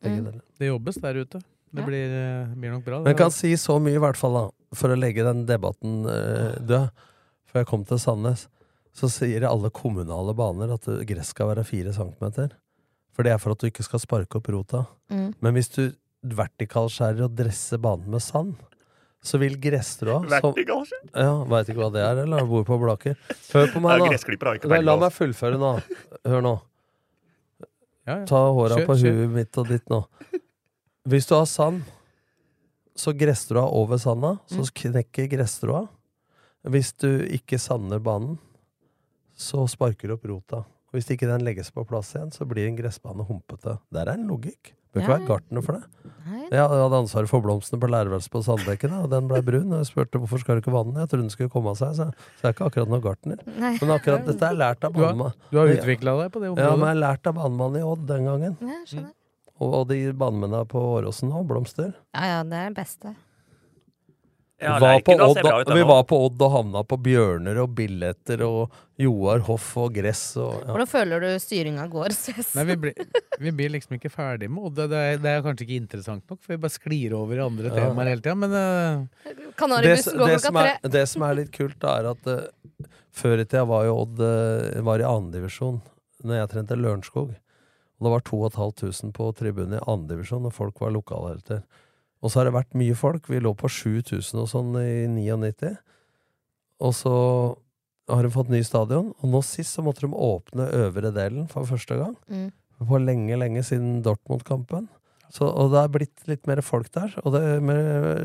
S6: begge deler.
S4: Det jobbes der ute. Det blir, eh, blir nok bra. det.
S6: Men jeg kan si så mye, i hvert fall, da, for å legge den debatten eh, død. For jeg kom til Sandnes, så sier alle kommunale baner at eh, gress skal være fire centimeter. For det er for at du ikke skal sparke opp rota.
S5: Mm.
S6: Men hvis du vertikalskjærer og dresser banen med sand, så vil gresstrå som-
S7: Vertikalskjær?
S6: Ja, Veit ikke hva det er, eller? Bor på Blaker. Hør på meg,
S7: Ja,
S6: nå.
S7: gressklipper har ikke
S6: Nei, La
S7: vertikal.
S6: meg fullføre nå. Hør nå.
S4: Ja, ja.
S6: Ta håra
S4: Kjør,
S6: på
S4: kjør.
S6: huet mitt og ditt nå. Hvis du har sand, så gresstrå over sanda, så knekker gresstråa. Hvis du ikke sander banen, så sparker du opp rota. Og Hvis ikke den legges på plass igjen, så blir en gressbane humpete. Der er en logikk. Bør ikke
S8: Ja.
S6: være gartner for det. Jeg hadde- hadde ansvaret for blomstene på lærerværelset på Sandbekken, og den blei brun. Og jeg spurte hvorfor skal du ikke vanne den? Jeg trodde den skulle komme av seg. Så jeg, så jeg er ikke akkurat noen gartner.
S5: Nei.
S6: Men akkurat dette er lært av
S4: Du har-
S6: banemann.
S4: du har utviklet deg på det området.
S6: Ja, men jeg er lært av banemannen i Odd den gangen.
S5: Ja, jeg
S6: Mm.
S5: skjønner.
S6: Og, og de banemennene på Åråsen òg, blomster.
S5: Ja, ja, det er det beste.
S7: Ja,
S6: var på
S7: Lerkendal ser
S6: Odd,
S7: bra ut,
S6: og,
S7: den
S6: vi
S7: nå.
S6: var på Odd og havna på Bjørner og Billetter og Joar Hoff og gress og ja.
S5: Hvordan føler du styringa går? Sves?
S4: Nei, vi blir, vi blir liksom ikke ferdig med Odd. Det, det, er, det er kanskje ikke interessant nok, for vi bare sklir over i andre
S6: Ja.
S4: temaer hele tida. Men eh,
S5: Kanaribussen
S6: Det-
S5: går
S6: det
S5: klokka
S6: som er-
S5: tre.
S6: Det som er litt kult, da, er at eh, før i tida var jo Odd eh, var i andredivisjon når jeg trente Lørenskog. Og det var 2500 på tribunen i andredivisjon, og folk var lokalhelter. Og så har det vært mye folk. Vi lå på 7000 og sånn i 99. Og så har de fått ny stadion, og nå sist så måtte de åpne øvre delen for første gang.
S5: Mm.
S6: På lenge, lenge siden Dortmund-kampen. Så, og det er blitt litt mer folk der. Og det, med,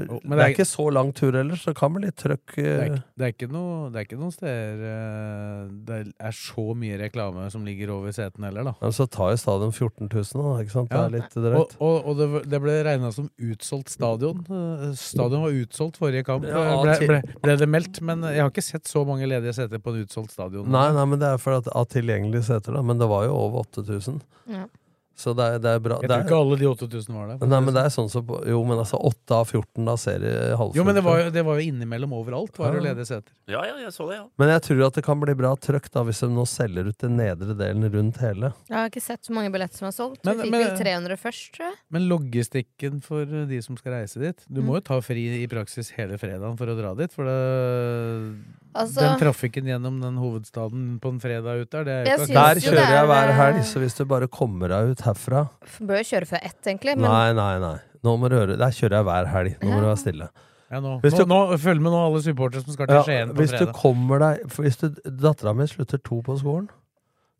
S4: Jo, men
S6: det
S4: det
S6: er
S4: er-
S6: ikke så lang tur ellers, så det kan bli litt trøkk.
S4: det, er,
S6: eh,
S4: ikke- det, er ikke noe, det er ikke noen steder eh, det er så mye reklame som ligger over setene heller, da.
S6: Ja, eh, men så tar jo stadion 14 000, da. Ikke sant?
S4: Ja.
S6: Det er litt drøyt.
S4: Og, og, og det, var- det ble regna som utsolgt stadion. Eh, Stadion var utsolgt forrige kamp, Eh,
S6: Ja,
S4: ble,
S6: til-
S4: ble, ble det meldt. Men jeg har ikke sett så mange ledige seter på en utsolgt stadion.
S6: Nei, nei, men det er fordi at av tilgjengelige seter, da. Men det var jo over 8000.
S5: Ja.
S6: Så det er, det er bra. det
S4: Jeg tror
S6: er-
S4: ikke alle de 8000 var der. for å
S6: Nei,
S4: si
S6: men det er sånn som Jo, men altså 8 av 14 da ser i halvfull.
S4: Jo, men det var jo, det var jo innimellom overalt, var det jo
S6: Ja.
S4: ledige seter.
S7: Ja, ja, jeg så det, ja.
S6: Men jeg tror at det kan bli bra trøkk da hvis de nå selger ut den nedre delen rundt hele.
S5: Jeg har ikke sett så mange billetter som er solgt.
S4: Men-
S5: vi fikk
S4: men-
S5: vel 300 først, tror jeg.
S4: Men logistikken for eh, de som skal reise dit Du
S6: Mm.
S4: må jo ta fri i praksis hele fredagen for å dra dit, for det,
S5: Altså-
S4: den trafikken gjennom den hovedstaden på en fredag ut der, det er
S5: Jeg
S4: jo ikke
S6: Der
S5: synes jo det
S6: kjører jeg
S5: er-
S6: hver helg, så hvis du bare kommer deg ut herfra
S5: Bør jo kjøre før ett, egentlig. Men
S6: Nei, nei, nei. Nå må du høre. Der kjører jeg hver helg. Nå må du være stille.
S4: ja, nå,
S6: Hvis
S4: nå,
S6: du-
S4: nå, Følg med nå, alle supportere som skal til Skien på
S6: hvis du
S4: fredag.
S6: kommer deg for Hvis du dattera mi slutter to på skolen,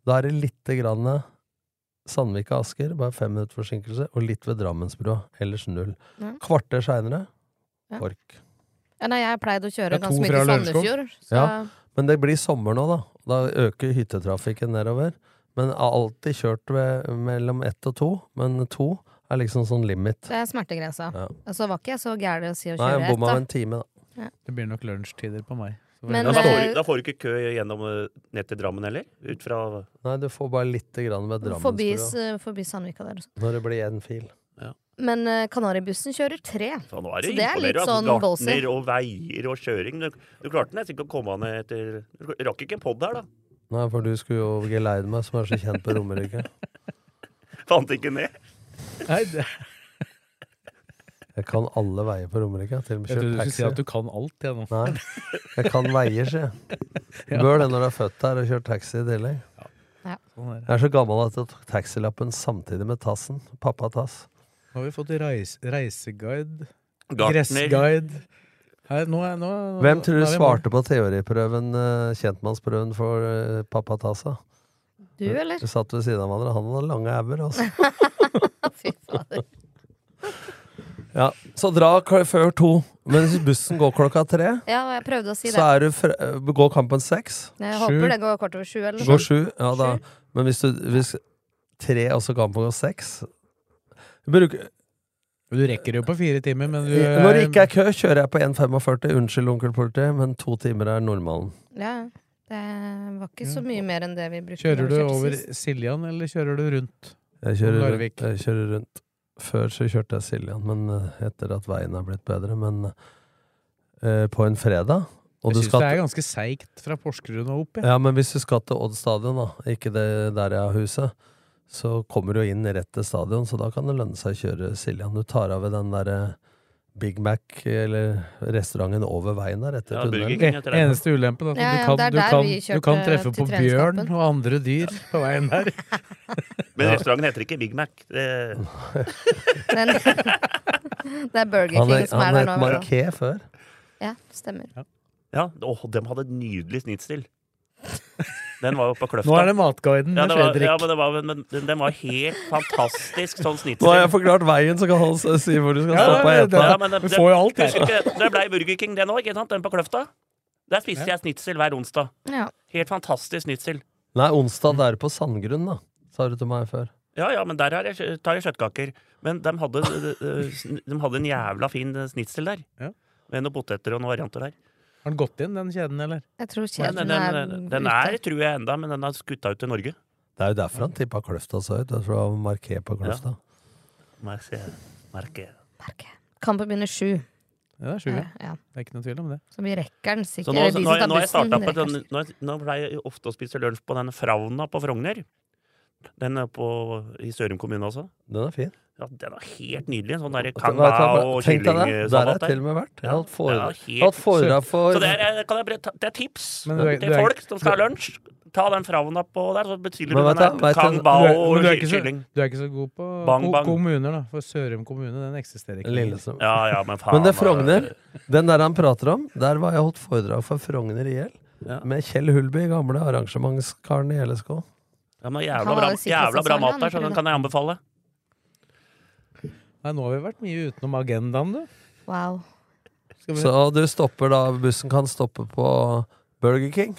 S6: da er det lite grann Sandvika-Asker, bare fem minutter forsinkelse, og litt ved Drammensbrua. Ellers null.
S5: Ja.
S6: Kvarter seinere
S5: Ja.
S6: KORK.
S5: ja, nei, jeg pleide å
S6: Det
S5: kjøre
S6: er to
S5: ganske mye
S6: fra
S5: til
S6: Lørenskog.
S5: Sandefjord. Så
S6: Ja. Men det blir sommer nå, da. Da øker hyttetrafikken nedover. Men jeg har alltid kjørt ved, mellom ett og to. Men to er liksom sånn limit.
S5: det er smertegrensa.
S6: Ja.
S5: Og Så var ikke jeg så gæren å si å
S6: Nei,
S5: kjøre
S6: jeg bomma en
S5: ett, da.
S6: time, da.
S4: Det blir nok lunsjtider på meg. Så
S5: Men,
S7: da,
S5: eh,
S7: får, du- da får du ikke kø gjennom eh, ned til Drammen heller? Ut fra
S6: Nei, du får bare lite grann ved
S5: Forbi,
S6: Drammensbrua.
S5: s- forbi Sandvika der. og sånn.
S6: Når det blir én fil.
S5: Men eh, Kanaribussen kjører tre.
S7: Ja, nå er
S5: Så
S7: det,
S5: det er litt
S7: imponerende,
S5: sånn
S7: altså,
S5: ballsy.
S7: Gartner og veier og kjøring. Du, du klarte nesten ikke å komme ned etter Du rakk ikke en pod her, da.
S6: Nei, for du skulle jo geleide meg, som er så kjent på Romerike.
S7: Fant ikke ned.
S4: Nei, det,
S6: Jeg kan alle veier på Romerike. Til og med
S4: jeg
S6: kjørt
S4: trodde du skulle si
S6: taxi.
S4: at du kan alt, jeg nå.
S6: Nei, jeg kan veier, sier jeg.
S4: Ja.
S6: Bør det når du er født her og kjørt taxi i tillegg.
S5: Ja.
S4: Sånn er det.
S6: Jeg er så gammel at jeg tok taxilappen samtidig med tassen. Pappa-tass.
S4: Nå har vi fått reis, reiseguide,
S6: Gartner.
S4: gressguide Her, nå er, nå, nå,
S6: Hvem tror
S4: nå
S6: du
S4: er vi i mål.
S6: svarte på teoriprøven, eh, kjentmannsprøven for eh, pappa-tassa?
S5: Du, eller?
S6: Du satt ved siden av hverandre. Han hadde lange æver, altså.
S5: Fy fader.
S6: Ja, så dra kl- før to. Men hvis bussen går klokka tre,
S5: Ja, og jeg prøvde å si det.
S6: så er du fr eh, går kampen seks.
S5: jeg
S6: Sju.
S5: håper det går kvart over sju. eller noe
S6: Går
S5: sånt.
S6: sju, ja da. Men hvis du hvis tre, og så kan man gå seks. Bruker
S4: Du rekker jo på fire timer, men du
S6: Når det ikke er kø, kjører jeg på 1,45. Unnskyld, onkel politi, men to timer er normalen.
S5: Ja, det var ikke så mye mer enn det vi brukte. når
S4: eh, Kjører
S5: vi
S4: du
S5: kjørte
S4: over
S5: sist.
S4: Siljan, eller kjører du rundt?
S6: Jeg kjører,
S4: Om
S6: rundt, jeg kjører rundt. Før så kjørte jeg Siljan, men eh, etter at veien er blitt bedre. Men eh, på en fredag og
S4: Jeg
S6: du
S4: syns
S6: skal
S4: det er
S6: til-
S4: ganske seigt fra Porsgrunn og opp, jeg.
S6: Ja, men hvis du skal til Odd stadion, da, ikke det der jeg har huset, så kommer du inn rett til stadion, så da kan det lønne seg å kjøre Siljan. Du tar av ved den derre Big Mac, eller restauranten over veien der, etter
S7: Ja, Burger
S6: tunnelen.
S7: King heter det.
S4: E- Eneste ulempen er at
S5: Ja,
S4: du,
S5: ja, det er
S4: kan, du,
S5: der
S4: kan,
S5: vi kjørte
S4: du kan treffe
S5: til
S4: på bjørn
S5: treningskampen.
S4: og andre dyr på veien der.
S7: Men
S4: Ja.
S7: restauranten heter ikke Big Mac. Det,
S5: Men det er Burger
S6: Han,
S5: King
S6: het-
S5: som er
S6: han
S5: der
S6: het
S5: nå. i hvert fall.
S6: Marquet før.
S5: Ja, stemmer.
S7: ja, og de hadde et nydelig snittstil. Den var jo på kløfta.
S4: Nå er det Matguiden
S7: Ja,
S4: med
S7: det var,
S4: Fredrik.
S7: ja, men, det var, men den- den var helt fantastisk sånn snittstil.
S6: Nå har jeg forklart veien, så kan han s- si hvor du skal
S4: Ja,
S6: stoppe og
S4: ja,
S6: ete.
S4: ja,
S7: Ja, men det-
S4: Vi
S7: det-
S4: får jo alt
S7: husker
S4: her.
S7: ikke- Det ble Burger King den òg, ikke sant? Den på Kløfta. Der spiste jeg snitsel hver onsdag.
S5: Ja.
S7: Helt fantastisk snitsel.
S6: Nei, onsdag, det er på Sandgrunn, da, sa du til meg før.
S7: Ja ja, men der har jeg, kjø- tar jeg kjøttkaker. Men de hadde, eh, eh, sn- de hadde en jævla fin eh, snitsel der.
S4: Ja.
S7: Med noen poteter og noen varianter der.
S4: Har han gått inn, den kjeden, eller?
S5: Jeg tror
S7: Men den,
S5: kjeden er
S7: den, den, den er, tror jeg, enda, men den er skutta ut til Norge.
S6: Det er jo derfor han tippa Kløfta så høyt. Jeg tror han var markert på Kløfta.
S7: Merke. Merke.
S5: Kampen begynner sju.
S4: Ja, det er sju, ja.
S5: Ja, ja.
S4: Det er ikke noe tvil om det.
S5: Så vi rekker den sikkert.
S7: Så nå,
S5: Eller
S7: nå,
S5: de
S7: nå,
S5: som tar
S7: har jeg
S5: bussen,
S7: startet
S5: de
S7: på sånn-
S5: rekker
S7: den, nå, nå pleier jeg ofte å spise lunsj på den Frauna på Frogner. Den er på, i Sørum kommune også.
S6: Den er fin.
S7: Ja, den er helt nydelig. En sånn der
S6: Vet du hva, jeg
S7: kangao
S6: kan- Tenk
S7: og
S6: deg det. Der har
S7: kyllingsalat
S6: jeg til og med vært. Jeg har hatt
S7: Ja,
S6: foredrag-
S7: helt
S6: jeg har hatt foredrag for
S7: Så det er, kan jeg, bre- ta- det er tips
S4: Men du er- du
S7: til
S4: er-
S7: folk som skal ha lunsj. Ta den Frauna på der, så bestiller
S6: Men
S7: du
S6: vet
S7: den
S6: du-
S7: der
S6: vet du-
S4: Du
S7: kangao
S4: er, men
S7: og
S4: du, er ikke så,
S7: kylling.
S4: du er ikke så god på
S7: Bang,
S4: ko-
S7: bang.
S4: kommuner, da. For Sørum kommune, den eksisterer ikke.
S6: Lillestrøm.
S7: Ja, ja, men faen.
S6: Men det
S7: eh,
S6: Frogner, den der han prater om, der var jeg holdt foredrag for Frogner i hjel.
S7: Ja.
S6: Med Kjell Hulby, gamle arrangementskaren i LSK.
S7: Ja, men jævla
S5: Han var
S7: bra,
S5: jo sikkert
S7: jævla bra
S5: så særlig,
S7: mat
S5: han,
S7: der, så den kan jeg anbefale.
S4: Nei, nå har vi vært mye utenom agendaen, du.
S5: den. Wow.
S4: Skal vi...
S6: Så du stopper da, bussen kan stoppe på Burger King,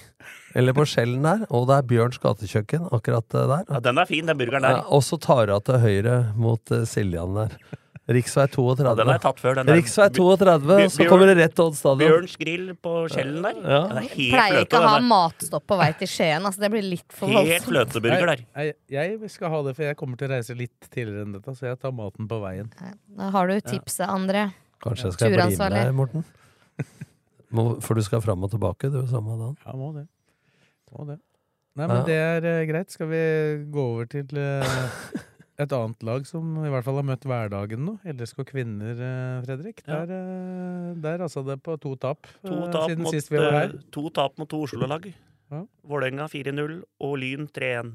S6: eller på Skjellen der, og det er Bjørns gatekjøkken akkurat eh, der.
S7: Ja, den er fin, den burgeren
S6: Ja,
S7: der.
S6: og så tar hun av til høyre mot eh, Siljan der. Riksvei 32.
S7: Ja, den har jeg tatt før. Den der.
S6: Riksvei 32,
S7: Bjør-
S6: så kommer det rett til Odd stadion.
S7: Bjørns grill på Skjellen der.
S6: Ja.
S7: Den er helt
S5: Pleier
S7: fløte,
S5: ikke å ha
S7: den der.
S5: matstopp på vei til Skien. Altså, det blir litt for
S7: Helt
S5: voldsomt.
S7: fløteburger der.
S4: Nei, jeg, jeg skal ha det, for jeg kommer til å reise litt tidligere enn dette, så jeg tar maten på veien.
S5: Da har du tipset, André.
S6: Kanskje jeg skal bli med
S5: Turansvarlig.
S6: deg, Morten? Må, for du skal fram og tilbake, du, samme dagen.
S4: Ja, må det. Må det. Nei, men
S6: Ja.
S4: det er eh, greit. Skal vi gå over til eh, et annet lag som i hvert fall har møtt hverdagen nå? LSK Kvinner, eh, Fredrik.
S7: Ja.
S4: Der, eh, der rassa det på to tap, eh,
S7: To tap,
S4: siden
S7: mot,
S4: sist vi var
S7: eh,
S4: her.
S7: to tap mot to Oslo-lag.
S4: Ja.
S7: Vålerenga 4-0 og Lyn 3-1.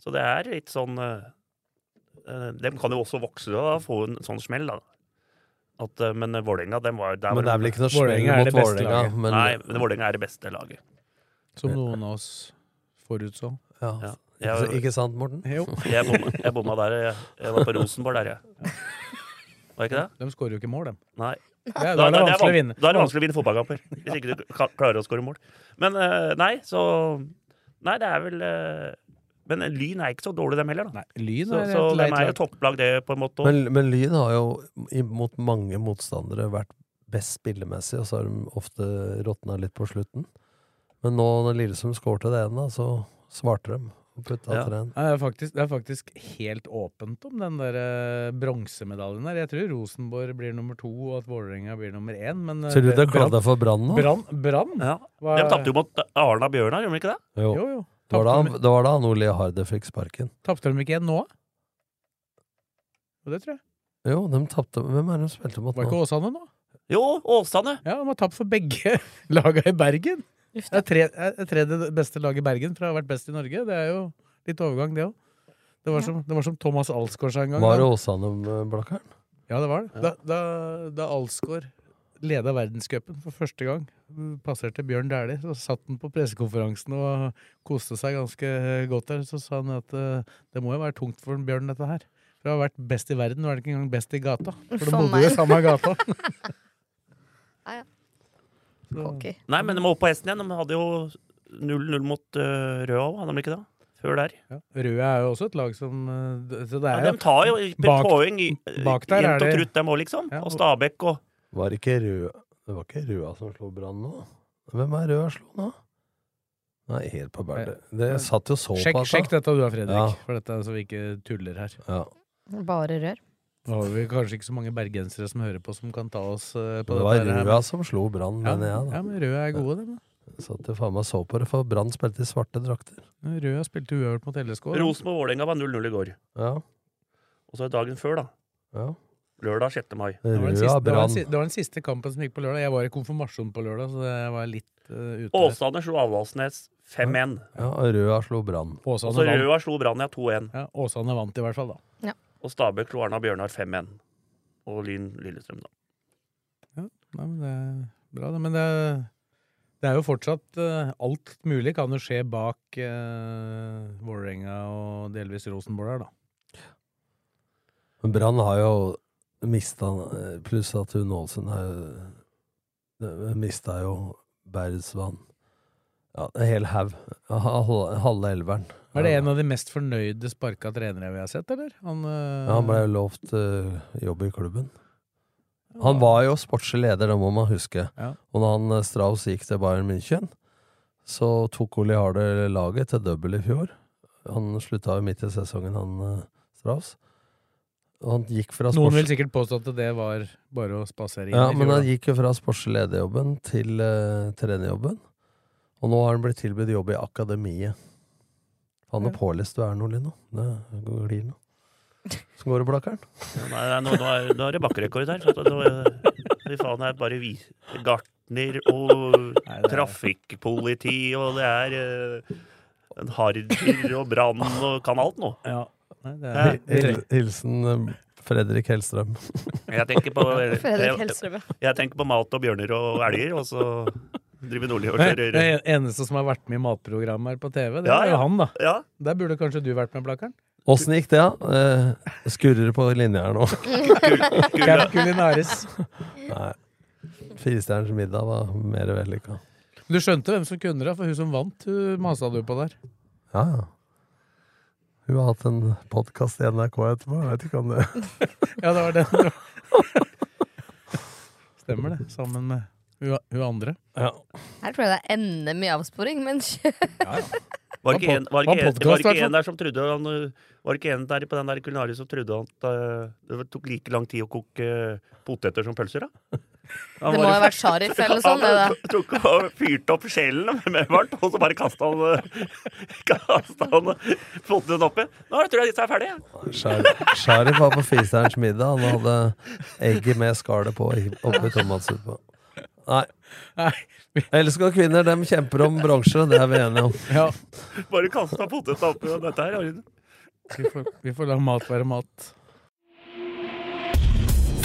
S7: Så det er litt sånn De kan jo også vokse og få en sånn smell, da. At, eh, men Vålerenga, dem var der
S6: Men det er vel ikke noe
S4: Vålerenga
S6: smell
S4: er det
S6: mot
S4: beste
S6: Vålerenga.
S4: laget.
S6: Men,
S7: Nei, men Vålerenga er det beste laget.
S4: Som noen av oss forutså.
S6: ja.
S7: Ja.
S6: Så,
S7: Jeg,
S6: ikke sant, Morten?
S4: Jo.
S7: jeg, bomma, jeg bomma der. Jeg, jeg var på Rosenborg der, jeg. Var jeg ikke det?
S4: De skårer jo ikke mål, dem.
S7: Nei.
S4: Ja,
S7: Da,
S4: da er det
S7: da-
S4: vanskelig å
S7: van-
S4: vinne.
S7: da er det vanskelig å vinne fotballkamper. Hvis ikke du ka- klarer å skåre mål. Men eh, nei, så Nei, det er vel eh, Men Lyn er ikke så dårlig, dem heller. da.
S4: Nei, Lyn
S7: Så,
S4: er
S7: så
S4: et
S7: dem
S4: leit
S7: er jo
S4: lag.
S7: topplag, det, på en måte. også.
S6: Men, men Lyn har jo i- mot mange motstandere vært best spillemessig, og så har de ofte råtna litt på slutten. Men nå når Lillesund skårte det ene, da, så svarte de. Og putta
S7: Ja.
S6: til den.
S4: Nei, Det er, faktisk, det er faktisk helt åpent om den der eh, bronsemedaljen der. Jeg tror Rosenborg blir nummer to, og at Vålerenga blir nummer én, men eh,
S6: Ser du
S4: Bra-
S6: til å kalle deg for Brann nå?
S4: Brann? Brann?
S7: Ja.
S4: Hva-
S7: De tapte jo mot Arna Bjørnar, gjorde de ikke det?
S6: Jo.
S4: Jo, jo.
S6: Det var da,
S4: Tapte de,
S6: det var da han Ole Harde fikk sparken.
S4: tapte de ikke igjen nå? Og det tror jeg.
S6: Jo, de tapte Hvem er det de spilte mot
S4: Var
S6: nå?
S4: ikke Åsane nå?
S7: Jo, Åsane!
S4: Ja, de har tapt for begge laga i Bergen. Det er tre- eh, det er tredje beste laget i Bergen fra å ha vært best i Norge. Det er jo litt overgang, det òg. Det, var
S5: Ja.
S4: som- det var som Thomas Alsgaard sa en gang.
S6: Var det
S4: da.
S6: Åsane-blakkeren?
S4: Ja, det var det. Da, da, da Alsgaard leda verdenscupen for første gang, passerte Bjørn Dæhlie, så satt han på pressekonferansen og koste seg ganske eh, godt der. Så sa han at eh, det må jo være tungt for Bjørn, dette her. For det har vært best i verden, nå er det ikke engang best i gata. For
S5: For
S4: det bodde jo i
S5: meg.
S4: samme gata.
S5: Ja, ja.
S4: Så-
S5: Hockey.
S7: Nei, men de må opp på hesten igjen. De eh, hadde jo 0-0 mot uh, Røa, hadde de ikke det? før der.
S4: Røde er jo også et lag som eh, d- så det er
S7: Ja, de tar jo i-
S4: bak-
S7: poeng i-
S4: bak der
S7: jevnt
S4: er
S7: og
S4: det-
S7: trutt, dem òg, liksom. Og Stabæk og
S6: Var ikke Røa Det var ikke Røa som slo Brann nå? Hvem er Røa slo nå? Nei, helt på bærte. Det satt jo så
S7: altså.
S4: Sjekk,
S6: på at da.
S4: sjekk dette du da, Fredrik,
S6: Ja.
S4: for dette er så vi ikke tuller her.
S5: Bare rør.
S4: Nå har vi kanskje ikke så mange bergensere som hører på, som kan ta oss eh, på
S6: Det var
S4: dette her,
S6: Røa
S4: men-
S6: som slo Brann,
S4: ja,
S6: mener jeg. da.
S4: Ja, men Røa er gode, dem.
S6: Satt jo faen meg så på det, for Brann spilte i svarte drakter.
S4: da. Røa spilte uavgjort mot LSK. da.
S7: Rosenborg og Vålerenga var 0-0 i går. Og så dagen før, da. Lørdag 6. mai.
S4: Det var, den siste, det, var den, si- det var den siste kampen som gikk på lørdag. Jeg var i konfirmasjon på lørdag, så det var litt eh, ute.
S7: Åsane slo Avaldsnes 5-1.
S6: Ja, og Røa slo Brann.
S7: Og
S4: Åsane
S7: så
S4: vant.
S7: altså, Røa slo Brann ja 2-1.
S4: Åsane vant i hvert fall, da.
S7: Og Stabæk slo Arna Bjørnar 5-1. Og Lyn Lillestrøm, da.
S4: Nei, men det er bra, det. Men det, er- det er jo fortsatt eh, Alt mulig kan jo skje bak uh, Vålerenga og delvis Rosenborg her, da.
S6: Men Brann har jo mista Pluss at hun Ålesund har jo mista jo Bergsvann. Ja, en hel haug. Halve halve elveren.
S4: Er det en av de mest fornøyde sparka trenere vi har sett, eller? Han, eh,
S6: Ja, han ble jo lovt eh, jobb i klubben. Han var jo sportslig leder, det må man huske.
S4: Ja.
S6: Og når han eh, Strauss gikk til Bayern München, så tok Ole Harder laget til double i fjor. Han slutta jo midt i sesongen, han eh, Strauss. Og han gikk fra
S4: Noen
S6: sports-
S4: vil sikkert påstå at det var bare å spasere inn.
S6: Ja,
S4: i
S6: men
S4: fjor,
S6: han
S4: da.
S6: gikk jo fra sportslederjobben til uh, trenerjobben. Og nå har han blitt tilbudt jobb i akademiet. Han er pålest du er nå, Lino. Det glir nå. Så går det, Blakkaren.
S7: Ja, Nei, nei, nå, nå, er, nå er det bakkerekord her. Så at nå, eh, fy faen, det er bare vi, gartner og trafikkpoliti, og det er eh, en harder og brann og kan alt nå.
S4: Ja. Nei, det
S7: Ja.
S4: er,
S6: Hil hilsen eh, Fredrik Hellstrøm.
S7: Jeg tenker på
S4: Fredrik
S7: jeg,
S4: Hellstrøm,
S7: jeg tenker på mat og bjørner og elger, og så driver Nordli og
S4: Nei, det
S7: kjører
S4: er eneste som har vært med i matprogrammet her på TV, det
S7: Ja,
S4: er jo
S7: ja.
S4: han, da.
S7: Ja.
S4: Der burde kanskje du vært med, Blakkaren?
S6: Åssen gikk det, da? Eh, skurrer på linja her nå.
S4: Kul- Camp Culinaris.
S6: Nei. Firestjerners middag var mer vellykka.
S4: Du skjønte hvem som kunne det, for hun som vant, hun masa du på der.
S6: Ja, ja. Hun har hatt en podkast i NRK etterpå. Jeg vet ikke om det
S4: Ja, det var den. Stemmer det. Sammen med hun, hun andre.
S6: Ja.
S5: Her tror jeg det er NM i avsporing, men ja,
S7: Var det ikke en, var det ikke en,
S4: podcast,
S7: var det ikke
S4: hvertfall.
S7: en der som trodde han, uh, Var det ikke en der på den der kulinariet som trodde at uh, det tok like lang tid å koke uh, poteter som pølser, da? Han var
S5: Det må
S7: jo-
S5: ha vært Sharif eller sånn, det
S7: Han
S5: da.
S7: tok og fyrte opp sjelen med varmt, og så bare kasta han, uh, kastet han poteten oppi. Nå tror jeg disse er ferdige. ja.
S6: Shar- Sharif var på Firestjerners middag. Han hadde egget med skallet på i- oppi tomatsuppa. Nei. Elsker kvinner, de kjemper om bronse, det er vi enige om.
S7: Bare kasta poteten oppi og dette her. Arjen.
S4: Vi får, vi får la mat være mat.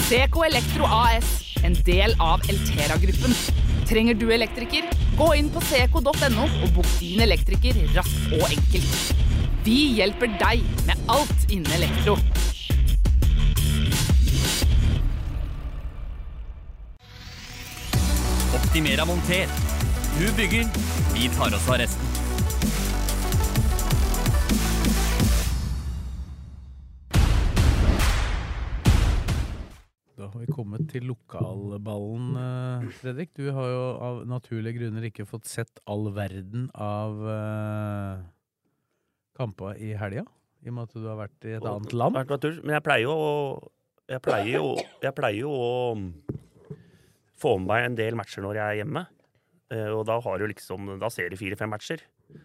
S2: CK Elektro AS, en del av Eltera-gruppen. Trenger du elektriker? Gå inn på ck.no og bok din elektriker raskt og enkelt. Vi hjelper deg med alt innen elektro.
S1: Optimera monter. Du bygger, vi tar oss av resten.
S4: Da har vi kommet til lokalballen, eh, Fredrik. Du har jo av naturlige grunner ikke fått sett all verden av uh, kampa i helga, i og med at du har vært i et annet land.
S7: Vært på tur, Men jeg pleier jo å jeg pleier jo, jeg pleier jo å mm, få med meg en del matcher når jeg er hjemme. Eh, Og da, har du liksom, da ser du fire-fem matcher.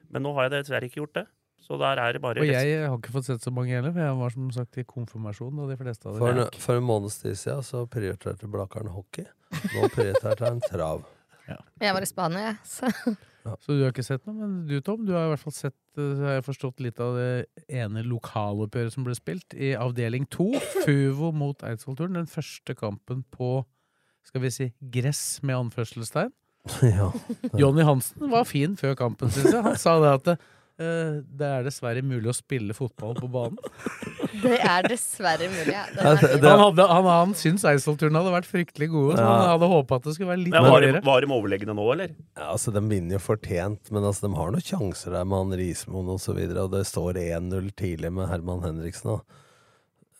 S7: Men nå har jeg dessverre ikke gjort det. Så der er det bare
S4: Og jeg har ikke fått sett så mange heller, for jeg var som sagt i konfirmasjon. Og de fleste av
S6: For
S4: dere
S6: en, for en måneds tid siden så prioriterte Blakkaren hockey. Nå prioriterte han trav.
S5: Jeg var i Spania, jeg, så
S4: Så du har ikke sett noe, men du Tom, du har i hvert fall sett eh, har jeg forstått litt av det ene lokaloppgjøret som ble spilt i avdeling 2, Fuvo mot Eidsvollturen. Den første kampen på, skal vi si, gress med anførselstegn.
S6: Ja.
S4: Jonny Hansen var fin før kampen, syns jeg. Han sa det at eh, det er dessverre mulig å spille fotball på banen.
S5: Det er dessverre mulig. Ja. Den
S4: Han,
S5: er fin.
S4: hadde, han, han syntes Eidsvoll-turen hadde vært fryktelig gode, så
S6: Ja.
S4: han hadde håpa at det skulle være litt
S7: Men var,
S4: dårligere.
S7: var de overlegne nå, eller?
S6: Ja, altså, De vinner jo fortjent, men altså, de har noen sjanser der med han Rismoen osv. Og, så videre, og det står 1-0 tidlig med Herman Henriksen da,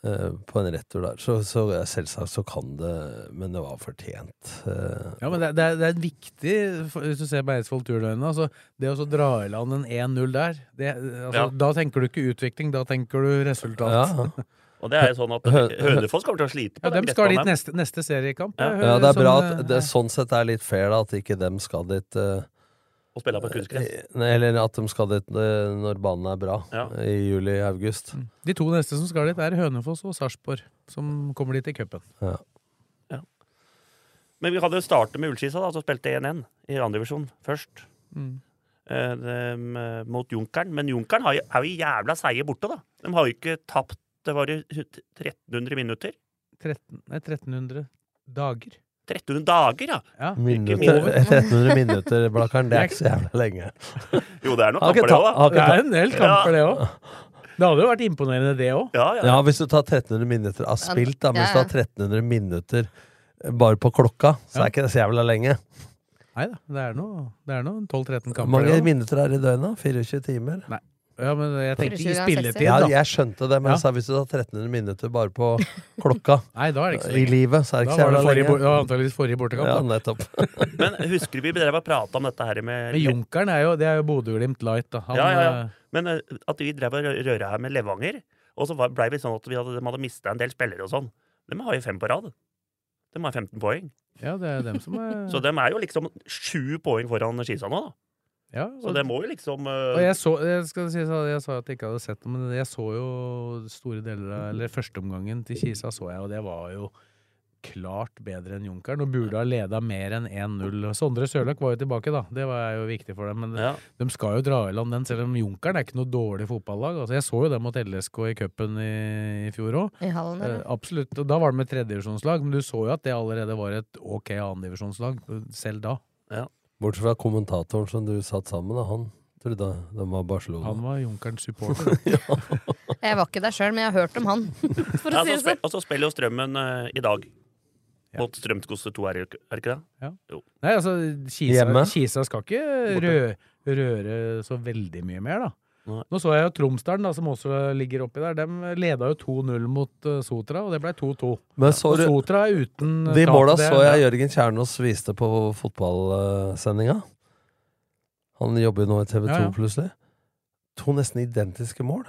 S6: eh, på en retur der. Så, så eh, selvsagt så kan det, men det var fortjent. Eh,
S4: Ja, men det, det, er, det er en viktig for- Hvis du ser på Eidsvoll-turnøyene, altså, det å så dra i land en 1-0 der det, altså,
S7: Ja.
S4: Da tenker du ikke utvikling, da tenker du resultat.
S6: Ja.
S7: Og det er jo sånn at
S6: Hø-
S7: Hønefoss kommer til å slite på
S4: Ja,
S7: den
S4: dem skal dit
S7: gressbanen.
S4: neste, neste seriekamp. Jeg
S6: ja,
S4: hører
S6: det er bra
S4: som,
S6: at
S4: eh,
S6: det sånn sett er litt fair da, at ikke dem skal dit eh,
S7: Og spille på kunstgress.
S6: Nei, Eller at de skal dit eh, når banen er bra,
S7: Ja. Mm.
S6: i juli-august.
S4: De to neste som skal dit, er Hønefoss og Sarpsborg, som kommer dit i cupen.
S6: Ja.
S7: Men vi hadde jo startet med Ullskisa, da, som spilte 1-1 i andredivisjon først.
S4: Mm.
S7: Eh, dem, eh, mot Junkeren. Men Junkeren har jo, er jo jævla seige borte, da. De har jo ikke tapt Det var jo 1300 minutter.
S4: 13, nei, 1300 dager.
S7: 1300 dager, ja!
S4: Ja.
S6: Minutter,
S7: over.
S6: 1300 minutter, Blakkaren. Det er ikke så jævla lenge.
S7: Jo, det er noen
S6: Har ikke
S7: kamper, det
S6: ta- har ikke
S7: òg,
S4: Det
S7: da.
S6: ta-
S4: er en del kamper, det òg. Det hadde jo vært imponerende, det òg.
S7: Ja, ja.
S6: Ja, hvis du tar 1300 minutter av
S5: Ja,
S6: spilt, da,
S5: ja,
S6: mens
S5: ja.
S6: du har 1300 minutter eh, bare på klokka, så
S4: Ja.
S6: er ikke det så jævla lenge.
S4: Nei da, det er noe- det er noen 12-13
S6: Hvor
S4: kamper.
S6: mange
S4: det også.
S6: minutter er det i døgnet? 24 timer?
S4: Ja, men jeg tenkte i
S5: 24 av
S4: spilletid,
S5: 60.
S6: Ja,
S4: da.
S6: jeg skjønte det, men
S4: Ja.
S6: jeg sa hvis du tar 1300 minutter bare på klokka
S4: Nei, da er det ikke så
S6: i
S4: lenge.
S6: livet, så er det ikke
S4: Da
S6: så
S4: var det
S6: jævla
S4: forrige, bor-
S6: lenge.
S4: det var antageligvis forrige bortekamp.
S6: Ja,
S4: da.
S6: nettopp.
S7: Men husker du vi drev og prata om dette her med
S4: Men Junkeren er jo, det er jo Bodø-Glimt light, da. Han,
S7: Ja, ja, ja.
S4: eh,
S7: Men eh, at vi drev og rø- røra her med Levanger, og så blei vi sånn at vi hadde, de hadde mista en del spillere og sånn. De har jo fem på rad. De har 15 poeng.
S4: ja, det er dem som er
S7: Så de er jo liksom sju poeng foran Skisa nå, da.
S4: ja,
S7: Så
S4: og-
S7: det må jo liksom eh,
S4: Og jeg så, jeg skal si, så- jeg sa at jeg ikke hadde sett det, men jeg så jo store deler av Eller førsteomgangen til Kisa så jeg, og det var jo klart bedre enn Junkeren. Og burde ha leda mer enn 1-0. Og Sondre Sørløk var jo tilbake, da. Det var jo viktig for dem. Men
S7: ja.
S4: de skal jo dra i land den, selv om Junkeren er ikke noe dårlig fotballag. Altså, jeg så jo dem mot LSK i cupen i, i fjor òg.
S5: I hallen,
S4: Eh,
S5: eller?
S4: absolutt. Og da var det med tredjedivisjonslag, men du så jo at det allerede var et ok annendivisjonslag, selv da.
S6: Bortsett fra kommentatoren som du satt sammen med, han trodde de var Barcelona.
S4: Han var Junkerens supporter.
S5: Jeg var ikke der sjøl, men jeg har hørt om han. For
S7: Ja,
S5: å
S7: så
S5: si det
S7: spe-
S5: sånn.
S7: og så spiller jo Strømmen eh, i dag.
S4: Ja.
S7: Mot Strømskose 2, er det ikke er det ikke det?
S4: Nei, altså, Kisa,
S6: Hjemme?
S4: Kisa skal ikke rø røre så veldig mye mer, da.
S7: Nei.
S4: Nå så jeg jo Tromsdalen, da, som også ligger oppi der. Dem leda jo 2-0 mot eh, Sotra, og det ble 2-2.
S6: Men så
S4: Og
S6: du
S4: Sotra er uten eh,
S6: De
S4: tap,
S6: måla
S4: det-
S6: så jeg Jørgen Kjernås viste på fotballsendinga. Han jobber jo nå i TV2
S4: Ja, ja.
S6: plutselig. To nesten identiske mål.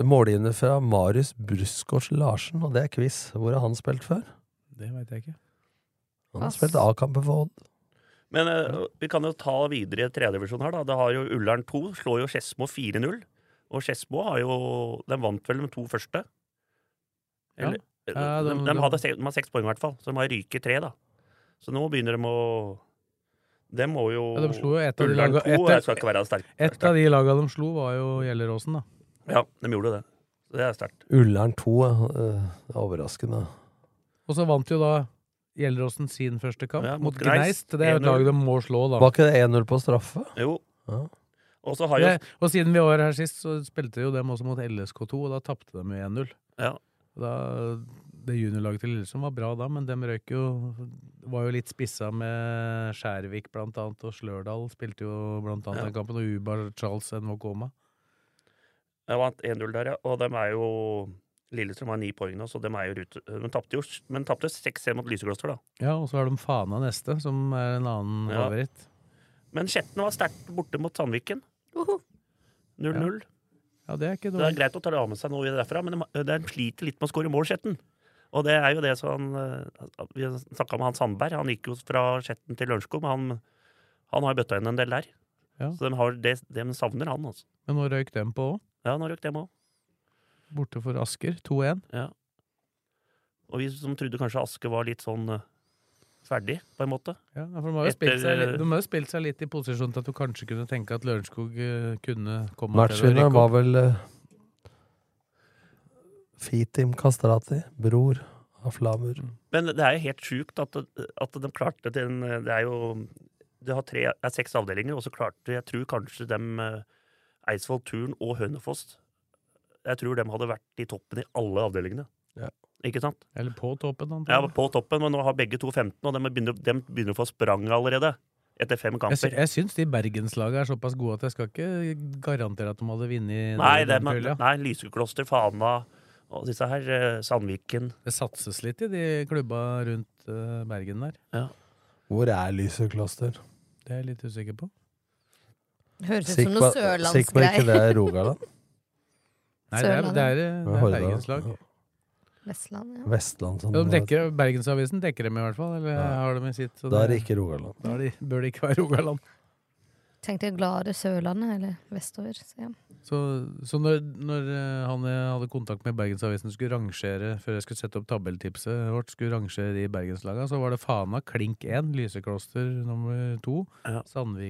S6: Målgivende fra Marius Brusgaards Larsen, og det er quiz. Hvor har han spilt før?
S4: Det veit jeg ikke.
S6: Han har
S5: Ass.
S6: spilt A-kampen for Odd.
S7: Men eh, vi kan jo ta videre tredjedivisjon her, da. Det har jo Ullern 2, slår jo Skedsmo 4-0. Og Skedsmo har jo De vant vel de to første? Eller,
S4: Ja,
S7: de,
S4: de-
S7: de,
S4: de-
S7: hadde se, de har seks poeng, i hvert fall. Så de har ryket tre, da. Så nå begynner de å De må jo
S4: Ja, de slo jo et av de
S7: Ullern
S4: laga-
S7: 2
S4: et av-
S7: jeg skal ikke være sterk.
S4: Et av de laga de slo, var jo Gjelleråsen, da.
S7: Ja, de gjorde det. Så Det er sterkt.
S6: Ullern 2, eh, det er overraskende.
S4: Og så vant jo da Gjelleråsen sin første kamp
S7: Ja,
S4: mot
S7: mot Gneist.
S4: Gneist. Det er jo et
S7: 1-0.
S4: lag de må slå, da.
S6: Var ikke det 1-0 på straffe?
S7: Jo.
S6: Ja.
S7: Og så har jo
S4: Det, og siden vi var her sist, så spilte jo dem også mot LSK2, og da tapte de jo 1-0.
S7: Ja.
S4: Da- Det juniorlaget til Lillesund var bra da, men dem røyk jo Var jo litt spissa med Skjærvik blant annet, og Slørdal spilte jo blant annet
S7: Ja.
S4: den kampen, og Ubar Charles Nwokoma.
S7: Jeg vant 1-0 der, ja. Og dem er jo Lillestrøm har ni poeng nå, så dem er jo rute. Men tapte jo men tapte 6-1 mot Lysekloster, da.
S4: Ja, og så har de Fana neste, som er en annen
S7: Ja.
S4: favoritt.
S7: Men Skjetten var sterkt borte mot Sandviken.
S5: Woho.
S7: 0-0.
S4: Ja, det er ikke
S7: Det er
S4: dårlig.
S7: greit å ta det av med seg noe derfra, men de, de sliter litt med å skåre mål, Skjetten. Og det er jo det som eh, Vi snakka med han Sandberg. Han gikk jo fra Skjetten til Lørenskog, men han, han har bøtta inn en del der.
S4: Ja.
S7: Så de, har det, de savner han, altså.
S4: Men nå røyk dem på òg.
S7: Ja, han har røkt dem òg.
S4: Borte for Asker, 2-1.
S7: Og vi som trodde kanskje Aske var litt sånn eh, ferdig, på en måte.
S4: Ja, for de har jo
S7: Etter- eh,
S4: spilt seg, litt- de har jo spilt seg litt i posisjon til at du kanskje kunne tenke at Lørenskog eh, kunne komme til å rykke
S6: Matchvinneren var
S4: opp.
S6: vel eh, Fitim Kastrati, bror av Flamur.
S4: Mm.
S7: Men det er jo helt sjukt at, at de klarte den Det er jo det har tre, det er seks avdelinger, og så klarte jeg tror kanskje dem eh, Eidsvoll Turn og Hønefoss Jeg tror de hadde vært i toppen i alle avdelingene.
S6: Ja.
S7: Ikke sant?
S4: Eller på toppen,
S7: Ja, på toppen, men nå har begge to 15, og de begynner, de begynner å få sprang allerede. Etter fem
S4: Jeg, sy
S7: kamper.
S4: jeg syns de bergenslagene er såpass gode at jeg skal ikke garantere at de hadde vunnet.
S7: Nei,
S4: den
S7: dem-
S4: kvelden.
S7: nei Lysekloster, Fana og disse her, eh, Sandviken.
S4: Det satses litt i de klubba rundt eh, Bergen der.
S6: Hvor er Lysekloster?
S4: Det er jeg litt usikker på.
S5: Høres ut
S6: Sikker
S5: som
S6: på-
S5: noe
S6: sikker på ikke det er
S5: sørlandsgreier.
S6: Rogaland?
S4: Nei, det er,
S5: Sørlandet.
S4: det er, eh, det er
S6: Hordaland.
S4: Bergenslag.
S5: Vestland, ja.
S6: Vestland som
S4: Ja, de dekker, Bergensavisen dekker dem i hvert fall. Eller har dem i sitt. så
S6: Da er det ikke Rogaland.
S4: Da er det, bør det ikke være Rogaland.
S5: Tenkte gladere Sørlandet, eller vestover. Så ja.
S4: Så, så når, når eh, han jeg hadde kontakt med Bergensavisen skulle rangere før jeg skulle sette opp tabelltipset vårt, skulle rangere de Bergenslaga, så var det Fana klink 1, Lysekloster nummer 2,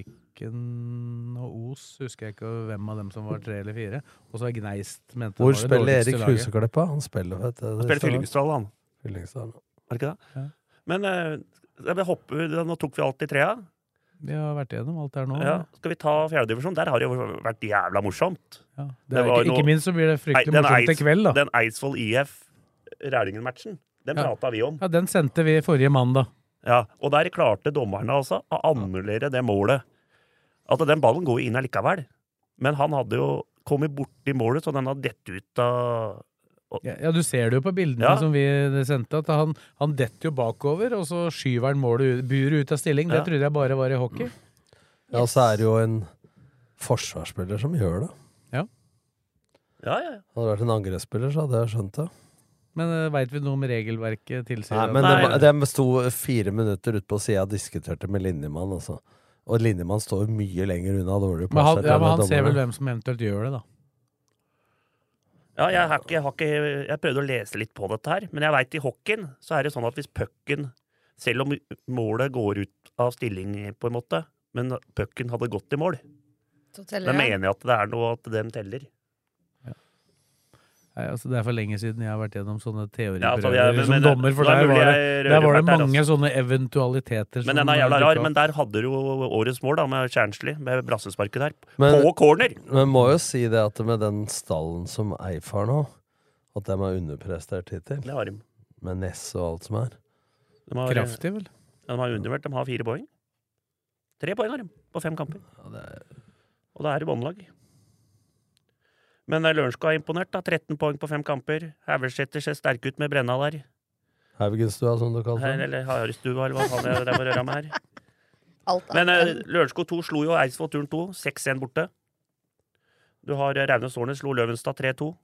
S4: Sandviken og Os, husker jeg ikke hvem av dem som var tre eller fire. Og så er Gneist mente det
S6: Hvor
S4: var det
S6: spiller
S4: dårligste
S6: Erik
S4: laget.
S6: Husekleppa? Han spiller, vet du.
S7: Han spiller Fyllingsdal, han.
S6: Fyllingsdal.
S7: Er det ikke det? Men eh, jeg vil hoppe- nå tok vi alt i trea.
S4: Vi har vært igjennom alt det her nå.
S7: Ja. Skal vi ta fjerdedivisjon? Der har det jo vært jævla morsomt.
S4: Det er
S7: var
S4: ikke,
S7: noe-
S4: ikke minst så blir det fryktelig
S7: Nei, den
S4: morsomt i
S7: Eids-
S4: kveld, da.
S7: Den Eidsvoll IF-Rælingen-matchen, den
S4: Ja.
S7: prata vi om.
S4: Ja, den sendte vi forrige mandag.
S7: Ja, og der klarte dommerne altså å annullere det målet. At den ballen går jo inn allikevel. Men han hadde jo kommet borti målet, så den hadde dett ut av
S4: Ja, ja, du ser det jo på bildene
S7: Ja.
S4: som vi eh, sendte, at han, han detter jo bakover, og så skyver han målet ut, buret ut av stilling.
S6: Ja.
S4: Det trodde jeg bare var i hockey.
S6: Ja, og så er det jo en forsvarsspiller som gjør det.
S4: Ja.
S7: Ja, ja.
S6: Hadde det vært en angrepsspiller, så hadde jeg skjønt det.
S4: Men uh, veit vi noe om regelverket tilsier
S6: Nei,
S4: at-
S6: men det, var- de sto fire minutter ute på sida og diskuterte med linjemann, altså. Og linjemann står mye lenger unna dårlig
S4: Men han,
S6: plassert
S4: ja,
S6: enn
S4: men han ser
S6: dommerne.
S4: vel hvem som eventuelt gjør det, da.
S7: Ja, jeg, har ikke, jeg, har ikke, jeg prøvde å lese litt på dette her, men jeg veit i hockeyen så er det sånn at hvis pucken Selv om målet går ut av stilling, på en måte, men pucken hadde gått i mål,
S5: Så
S7: da
S5: teller jeg.
S7: mener jeg at det er noe at den teller.
S4: Nei, altså, det er for lenge siden jeg har vært gjennom sånne
S7: Ja,
S4: teoriprøver
S7: altså, jeg- men-
S4: som
S7: men det-
S4: dommer, for
S7: det er
S4: der
S7: mulig
S4: var det,
S7: jeg rører
S4: der var det
S7: meg der,
S4: mange sånne eventualiteter
S7: Men
S4: som
S7: den er jævla
S4: dukket
S7: rar,
S4: opp.
S7: men der hadde du jo årets mål, da, med Kjernsli, med brassesparket der.
S6: Men-
S7: på corner!
S6: Men må jo si det at med den stallen som Eif har nå, at de er underprestert hittil.
S7: Det har de.
S6: Med Ness og alt som er.
S7: De har-
S6: Kraftig,
S4: vel?
S7: Ja, de har undervurdert. De har fire poeng. Tre poeng har de på fem kamper. Og det er i båndlag. Men eh, Lørenskog er imponert. da, 13 poeng på fem kamper. Haugeseter ser sterk ut med brenna der.
S6: Haugenstua, som du kaller
S7: Her,
S6: det.
S7: eller Harestua, eller hva faen det er det var å røre med her.
S5: Alt
S7: Men uh, Lørenskog 2 slo jo Eidsvoll Turn 2, 6-1 borte. Du har eh, Raunes Årnes slo Løvenstad 3-2.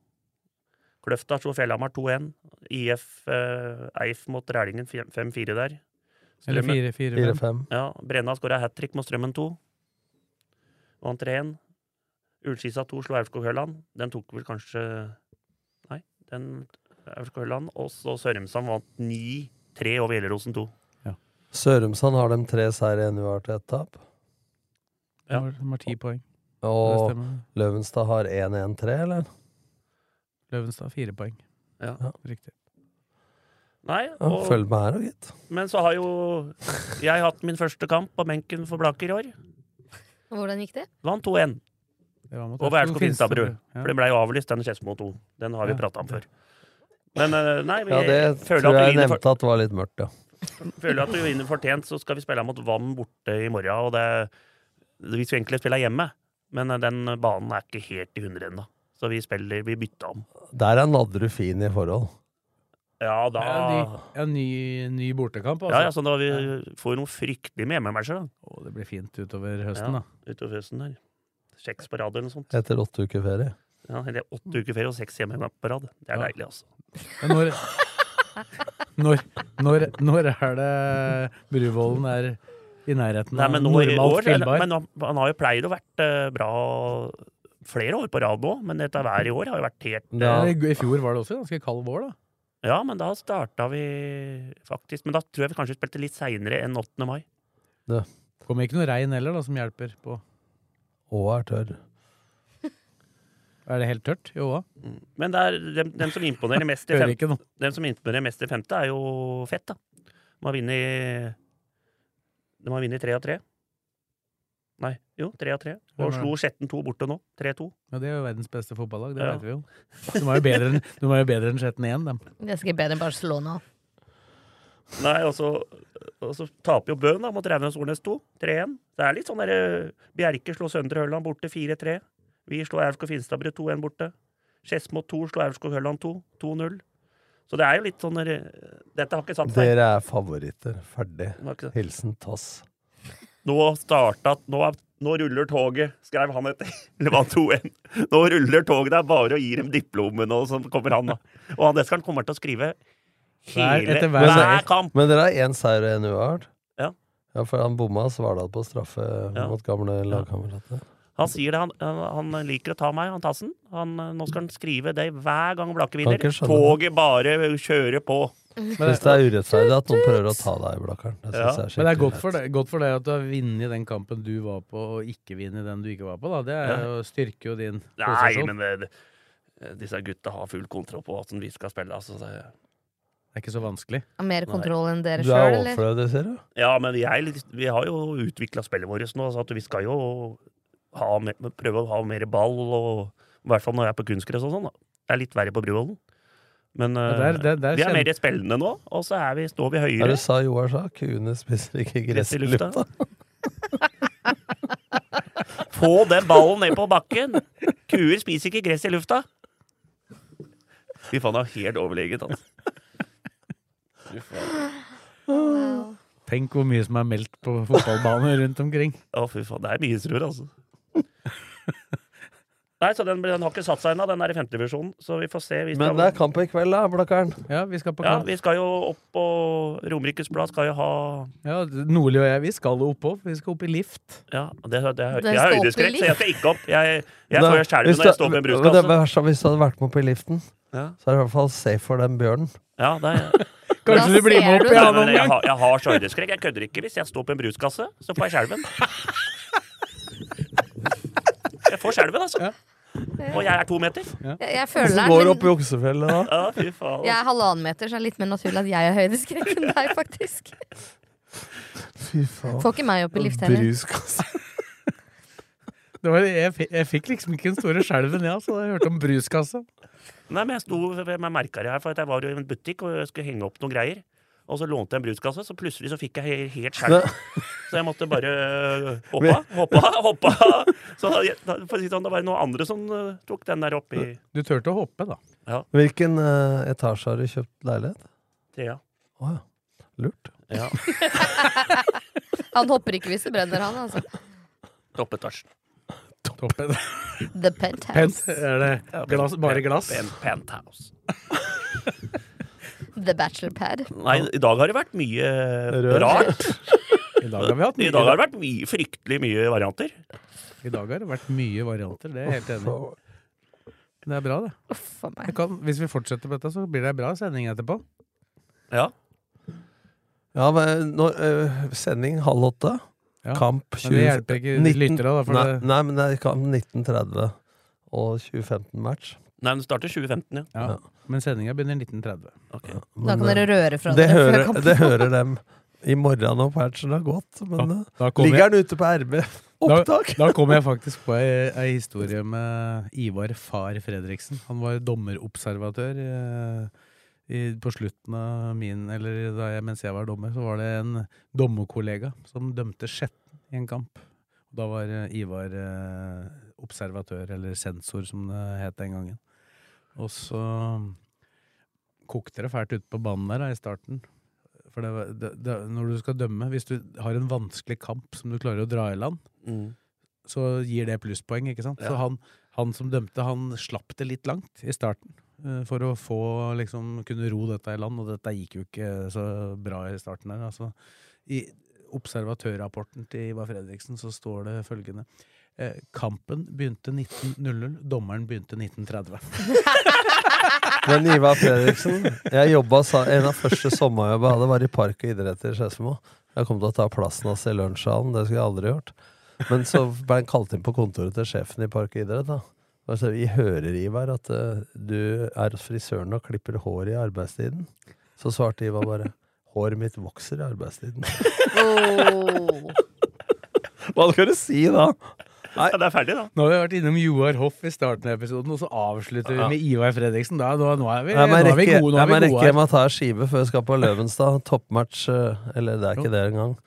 S7: Kløfta slo Fjellhamar 2-1. IF eh, Eif mot Rælingen 5-4 der.
S4: Eller
S7: Strømmen-
S4: 4-4-5. 4-5.
S7: Ja, Brenna skåra hat trick mot Strømmen 2. Vant 3-1. Ullskisa 2 slo Aurskog Høland. Den tok vel kanskje Nei, den Aurskog Høland. Og så Sørumsand vant 9-3 over Gjelleråsen 2.
S6: Sørumsand har de tre seire i uavgjort og ett tap.
S4: Ja. De har ti poeng.
S6: Og
S4: Det stemmer.
S6: Løvenstad har 1-1-3, eller?
S4: Løvenstad fire poeng.
S7: Ja.
S4: Riktig.
S7: Nei,
S6: Ja, følg med her da, gitt.
S7: Men så har jo jeg hatt min første kamp på benken for Blaker i år.
S5: Og Hvordan gikk det?
S7: Vant 2-1
S4: Det var mot
S7: over
S4: Aurskog
S7: Erskog Finstadbru.
S4: Finstadbru, ja.
S7: For den ble jo avlyst, den Skedsmo 2. Den har vi
S4: Ja.
S7: prata om før. Men eh, nei, vi
S6: Ja, det
S7: føler
S6: tror jeg
S7: at vi
S6: jeg
S7: vinner
S6: nevnte at det var litt mørkt, ja.
S7: for- føler at vi vinner fortjent, så skal vi spille mot Vann borte i morgen. Og det, vi skulle egentlig spille hjemme, men eh, den banen er ikke helt i hundre ennå. Så vi spiller, vi bytter om.
S6: Der er Nadderud fin i forhold.
S7: Ja, da
S4: Ja, de- ja, ny, ny bortekamp, altså.
S7: Ja, ja, så da vi får jo noe fryktelig med hjemmematcher, da.
S4: Å, det blir fint utover høsten,
S7: ja, Utover høsten der. Seks på rad eller noe sånt.
S6: Etter åtte uker ferie.
S7: Ja, eller åtte uker ferie og seks hjemme på rad. Det er deilig, altså.
S4: da. Men Når, når, når, når er det Bruvollen er i nærheten
S7: Nei,
S4: av
S7: men nå i
S4: normalt
S7: år, eller,
S4: spillbar?
S7: men han- han har jo pleier å vært eh, bra flere år på rad nå, men dette været i år har jo vært helt eh,
S4: Det er- I fjor var det også en ganske kald vår, da.
S7: Ja, men da starta vi faktisk. Men da tror jeg vi kanskje spilte litt seinere enn 8. mai.
S4: Kommer ikke noe regn heller, da, som hjelper på.
S6: Åa er tørr.
S4: Er det helt tørt i Åa?
S7: Men det er dem, dem som imponerer mest i
S4: Hører
S7: femte,
S4: ikke noe.
S7: dem som imponerer mest i femte er jo fett, da. De har vunnet De har vunnet tre av tre. Nei, Jo, tre av tre.
S4: Hvem er
S7: Og
S4: det?
S7: slo Skjetten 2 borte nå. 3-2.
S4: Ja, det er jo verdens beste fotballag, det
S7: Ja.
S4: vet vi jo. De var jo bedre enn de var jo bedre enn Skjetten 1, dem.
S5: Det er sikkert bedre enn Barcelona.
S7: Nei, og så, og så taper jo Bøhn da, mot Raunes Ornes 2. 3-1. Det er litt sånn derre Bjerke slår Søndre Hølland borte 4-3. Vi slår Aurskog Finstadbru 2-1 borte. Skedsmo 2 slår Aurskog Hølland 2. 2-0. Så det er jo litt sånn der, Dette har ikke satt seg.
S6: Dere er favoritter. Ferdig.
S7: Det var ikke det.
S6: Hilsen Tass.
S7: Nå starta nå, er- nå ruller toget, skrev han etter. Det var 2-1. Nå ruller toget, det er bare å gi dem diplomen, og så kommer han, da. Og han Eskeren kommer til å skrive hele
S6: etter
S7: hver,
S6: seier.
S7: kamp.
S6: Men dere har én seier og én uavgjort?
S7: Ja.
S6: ja. For han bomma Svardal på straffe
S7: Ja.
S6: mot gamle lagkamerater.
S7: Han sier det, han, han han liker å ta meg, han Tassen. Han, nå skal han skrive det hver gang Blakke
S6: Kan
S7: vinner.
S6: ikke skjønne
S7: Toget bare kjører på.
S6: Hvis det er urettferdig at noen prøver å ta deg i blakkeren. Det synes jeg er
S4: Men det er
S6: skikkelig
S4: godt for, deg, godt for deg at du har vunnet den kampen du var på, og ikke vunnet den du ikke var på. Da. Det er jo, styrker jo din
S7: Nei,
S4: posisjon.
S7: men det, det- disse gutta har full kontroll på hvordan vi skal spille. Altså, det,
S4: Det er ikke så vanskelig.
S5: Mer kontroll enn dere
S6: Du er
S5: sjøl, eller?
S6: overflødig, sier du?
S7: ja, men vi, er, litt- vi har jo utvikla spillet vårt nå, så at vi skal jo ha, mer- prøve å ha mer ball, og, i hvert fall når jeg er på kunstgress og sånn. da. Det er litt verre på Bruvollen. Men
S4: Ja, der- der- der
S7: eh, vi er
S4: kjenner-
S7: mer spillende nå, og så er vi, står vi
S6: Er
S7: høyere.
S6: det sa Joar sa? Kuene spiser ikke gress
S7: Rett i
S6: i
S7: lufta.
S6: lufta.
S7: Få den ballen ned på bakken! Kuer spiser ikke gress i lufta. Fy faen, det er helt overleget, altså. Fy faen.
S4: Tenk hvor mye som er meldt på fotballbaner rundt omkring.
S7: Å, fy faen. Det er mye surr, altså. Nei, så den, ble- den har ikke satt seg ennå. Den er i femtevisjonen, så vi får se. Vi
S6: Men det er kamp i kveld, da, Blakkaren.
S4: Ja, vi skal på
S7: ja,
S4: kamp.
S7: vi skal jo opp på Romerikes Blad. Skal jo ha
S4: Ja, Nordli og jeg, vi skal oppå. Vi skal opp i lift.
S7: Ja, det, det, er- jeg har
S4: Dere skal opp i
S7: høydeskrekk, så jeg skal ikke opp. Jeg, jeg
S6: Da-
S7: får jeg skjelven
S6: hvis
S7: når jeg
S6: du-
S7: står med en
S6: men Det
S7: bruskasse.
S6: verste er sånn, hvis du hadde vært med opp i liften,
S7: Ja.
S6: så er det i hvert fall safe for den bjørnen.
S7: Ja, det er
S4: Kanskje du blir med opp i
S7: Nei,
S4: annen
S7: men jeg,
S4: omgang.
S7: har, jeg har så høydeskrekk. Jeg kødder ikke. Hvis jeg står på en bruskasse, så får jeg skjelven. Jeg får skjelven, altså. Og jeg er to meter.
S5: Jeg, jeg
S6: Hvis
S5: føler
S6: du
S5: det
S6: går
S5: er
S6: opp i oksefjellet da.
S7: Ja, fy faen.
S5: Jeg er halvannen meter, så det er litt mer naturlig at jeg har høydeskrekk enn deg, faktisk.
S6: Fy faen.
S5: Får ikke meg opp i lift heller.
S6: Bruskasse.
S4: Det var, jeg, fi- jeg fikk liksom ikke den store skjelven, jeg, altså. Jeg hørte om bruskassa.
S7: Nei, men jeg sto med merker her, for at jeg var jo i en butikk og jeg skulle henge opp noen greier. Og så lånte jeg en bruskasse, så plutselig så fikk jeg he- helt skjelv. Så jeg måtte bare øh, hoppa, hoppa, hoppa. Så da- da, for å si det sånn, det var noen andre som øh, tok den der oppi
S4: Du turte å hoppe, da.
S6: Hvilken eh, etasje har du kjøpt leilighet?
S7: trea.
S6: Å ja. Lurt.
S7: Ja,
S5: Han hopper ikke hvis det brenner, han, altså.
S7: toppetasjen.
S4: Toppen.
S5: The penthouse.
S4: Pent, er det glass, bare glass?
S7: En penthouse.
S5: The bachelor pad.
S7: Nei, i dag har det vært mye
S6: Rør.
S7: rart.
S4: I dag har vi hatt
S7: I
S4: mye,
S7: dag har det vært mye, fryktelig mye varianter.
S4: i dag har det vært mye varianter, det er jeg helt enig i.
S6: Så-
S4: Det er bra, det.
S5: Uff a
S4: Det
S5: meg.
S4: kan, hvis vi fortsetter på dette, så blir det ei bra sending etterpå.
S7: Ja.
S6: Ja, men når, eh, sending halv åtte.
S4: Ja.
S6: Kamp
S4: Men
S6: 20...
S4: det hjelper ikke
S6: 19
S4: lyttere, da. For
S6: nei,
S4: det,
S6: nei, men det er kamp 1930 og 2015-match.
S7: Nei, den starter 2015, ja.
S4: ja. Men sendinga begynner 1930.
S7: Ok.
S5: Da kan dere røre fra
S6: det
S5: dere før
S6: hører,
S5: kampen.
S6: det hører dem i morgen når patchen har gått. Men eh,
S4: Da kom,
S6: ligger
S4: jeg,
S6: den ute på RB?
S4: da,
S6: Opptak!
S4: da kom jeg faktisk på ei, ei historie med Ivar Far Fredriksen. Han var dommerobservatør eh, i, på slutten av min Eller da jeg, mens jeg var dommer, så var det en dommerkollega som dømte Skjetten i en kamp. Da var eh, Ivar eh, observatør, eller sensor som det het den gangen. Og så kokte det fælt ute på banen der da, i starten. For det, var- det, det, når du skal dømme, hvis du har en vanskelig kamp som du klarer å dra i land,
S7: Mm.
S4: så gir det plusspoeng, ikke sant? Så
S7: Ja.
S4: han, han som dømte, han slapp det litt langt i starten. eh, For å få, liksom, kunne ro dette i land, og dette gikk jo ikke så bra i starten her. Altså, I observatørrapporten til Ivar Fredriksen så står det følgende eh, Kampen begynte 19.00, dommeren begynte 1930.
S6: Men Ivar Fredriksen jeg jobba, sa- En av første sommerjobba jeg hadde, var i Park og idrett i Skedsmo. Jeg kom til å ta plassen hans i lunsjsalen. Det skulle jeg aldri gjort. Men så ble han kalt inn på kontoret til sjefen i Park og idrett. da. Og så, vi hører, Ivar, at eh, du er hos frisøren og klipper hår i arbeidstiden. Så svarte Ivar bare Håret mitt vokser i arbeidstiden.
S5: Oh.
S4: Hva skal du si da? Nei.
S7: Ja, det er ferdig, da.
S4: Nå har vi vært innom Joar Hoff i starten av episoden, og så avslutter vi
S6: Ja.
S4: med Ivar Fredriksen. Da, nå, nå er vi,
S6: Jeg må
S4: nå er vi
S6: rekke,
S4: gode. Nå
S6: jeg må
S4: er vi
S6: rekke
S4: gode
S6: hjem
S4: her.
S6: og ta skive før jeg skal på Løvenstad. Toppmatch, eh, eller det er
S4: Jo.
S6: ikke det engang.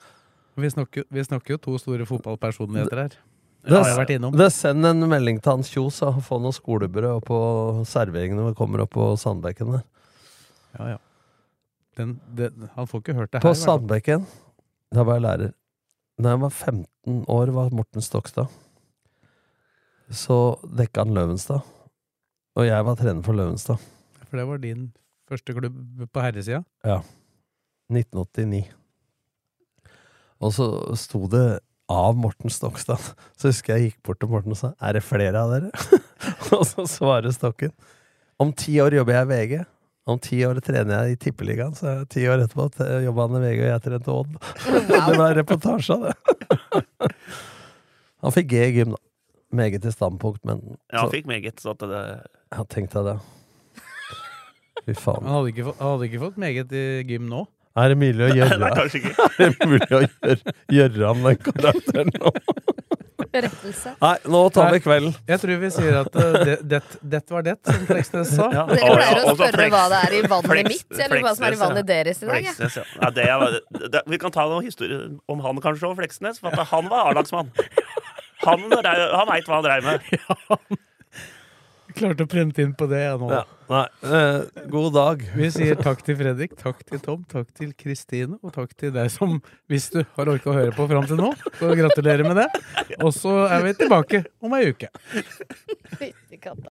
S4: Vi snakker, vi snakker jo to store fotballpersonligheter her. Det
S6: Det,
S4: har jeg vært innom.
S6: det send en melding til han Kjos og få noe skolebrød opp på serveringen når vi kommer opp på Sandbekken der.
S4: Ja, ja. Den, den, han får ikke hørt det
S6: På
S4: her. i hvert fall.
S6: Sandbekken, da var jeg lærer. Da jeg var 15 år, var Morten Stokstad. Så dekka han Løvenstad. Og jeg var trener for Løvenstad.
S4: For det var din første klubb på herresida.
S6: Ja. 1989. Og så sto det av Morten Stokstad. Så husker jeg jeg gikk bort til Morten og sa 'Er det flere av dere?' og så svarer Stokken 'Om ti år jobber jeg i VG'. Om ti år trener jeg i Tippeligaen, så ti år etterpå t- jobba han i VG, og jeg trente Odd. det var en reportasje av det. han fikk G i gym, da. Meget i standpunkt, men
S7: Ja,
S6: så-
S7: han fikk meget, så at det
S6: ja, tenkte jeg det. Fy faen.
S4: Han hadde ikke, fått- han hadde ikke fått meget i gym nå.
S6: Er det mulig å gjøre
S4: Nei, kanskje ikke.
S6: Er det mulig å gjøre, gjøre om den karakteren nå?
S5: Berettelse.
S6: Nei, nå tar vi kvelden.
S4: Jeg tror vi sier at eh, det, det, det var det, som Fleksnes sa.
S7: Ja.
S5: Dere pleier å spørre hva det er i vannet mitt, eller hva som
S7: Fleksnes,
S5: er i
S7: ja.
S5: vannet deres i dag. ja.
S7: Fleksnes, ja. Nei, det er, det, vi kan ta noen historier om han kanskje òg, Fleksnes. For at han var A-lagsmann. Han, rei- han veit hva han dreiv med.
S4: Klarte å prente inn på det, jeg nå.
S6: Ja, nei, eh, god dag.
S4: Vi sier takk til Fredrik, takk til Tom, takk til Kristine, og takk til deg som, hvis du har orka å høre på fram til nå, så gratulerer med det. Og så er vi tilbake om ei uke.
S5: Fytti katta.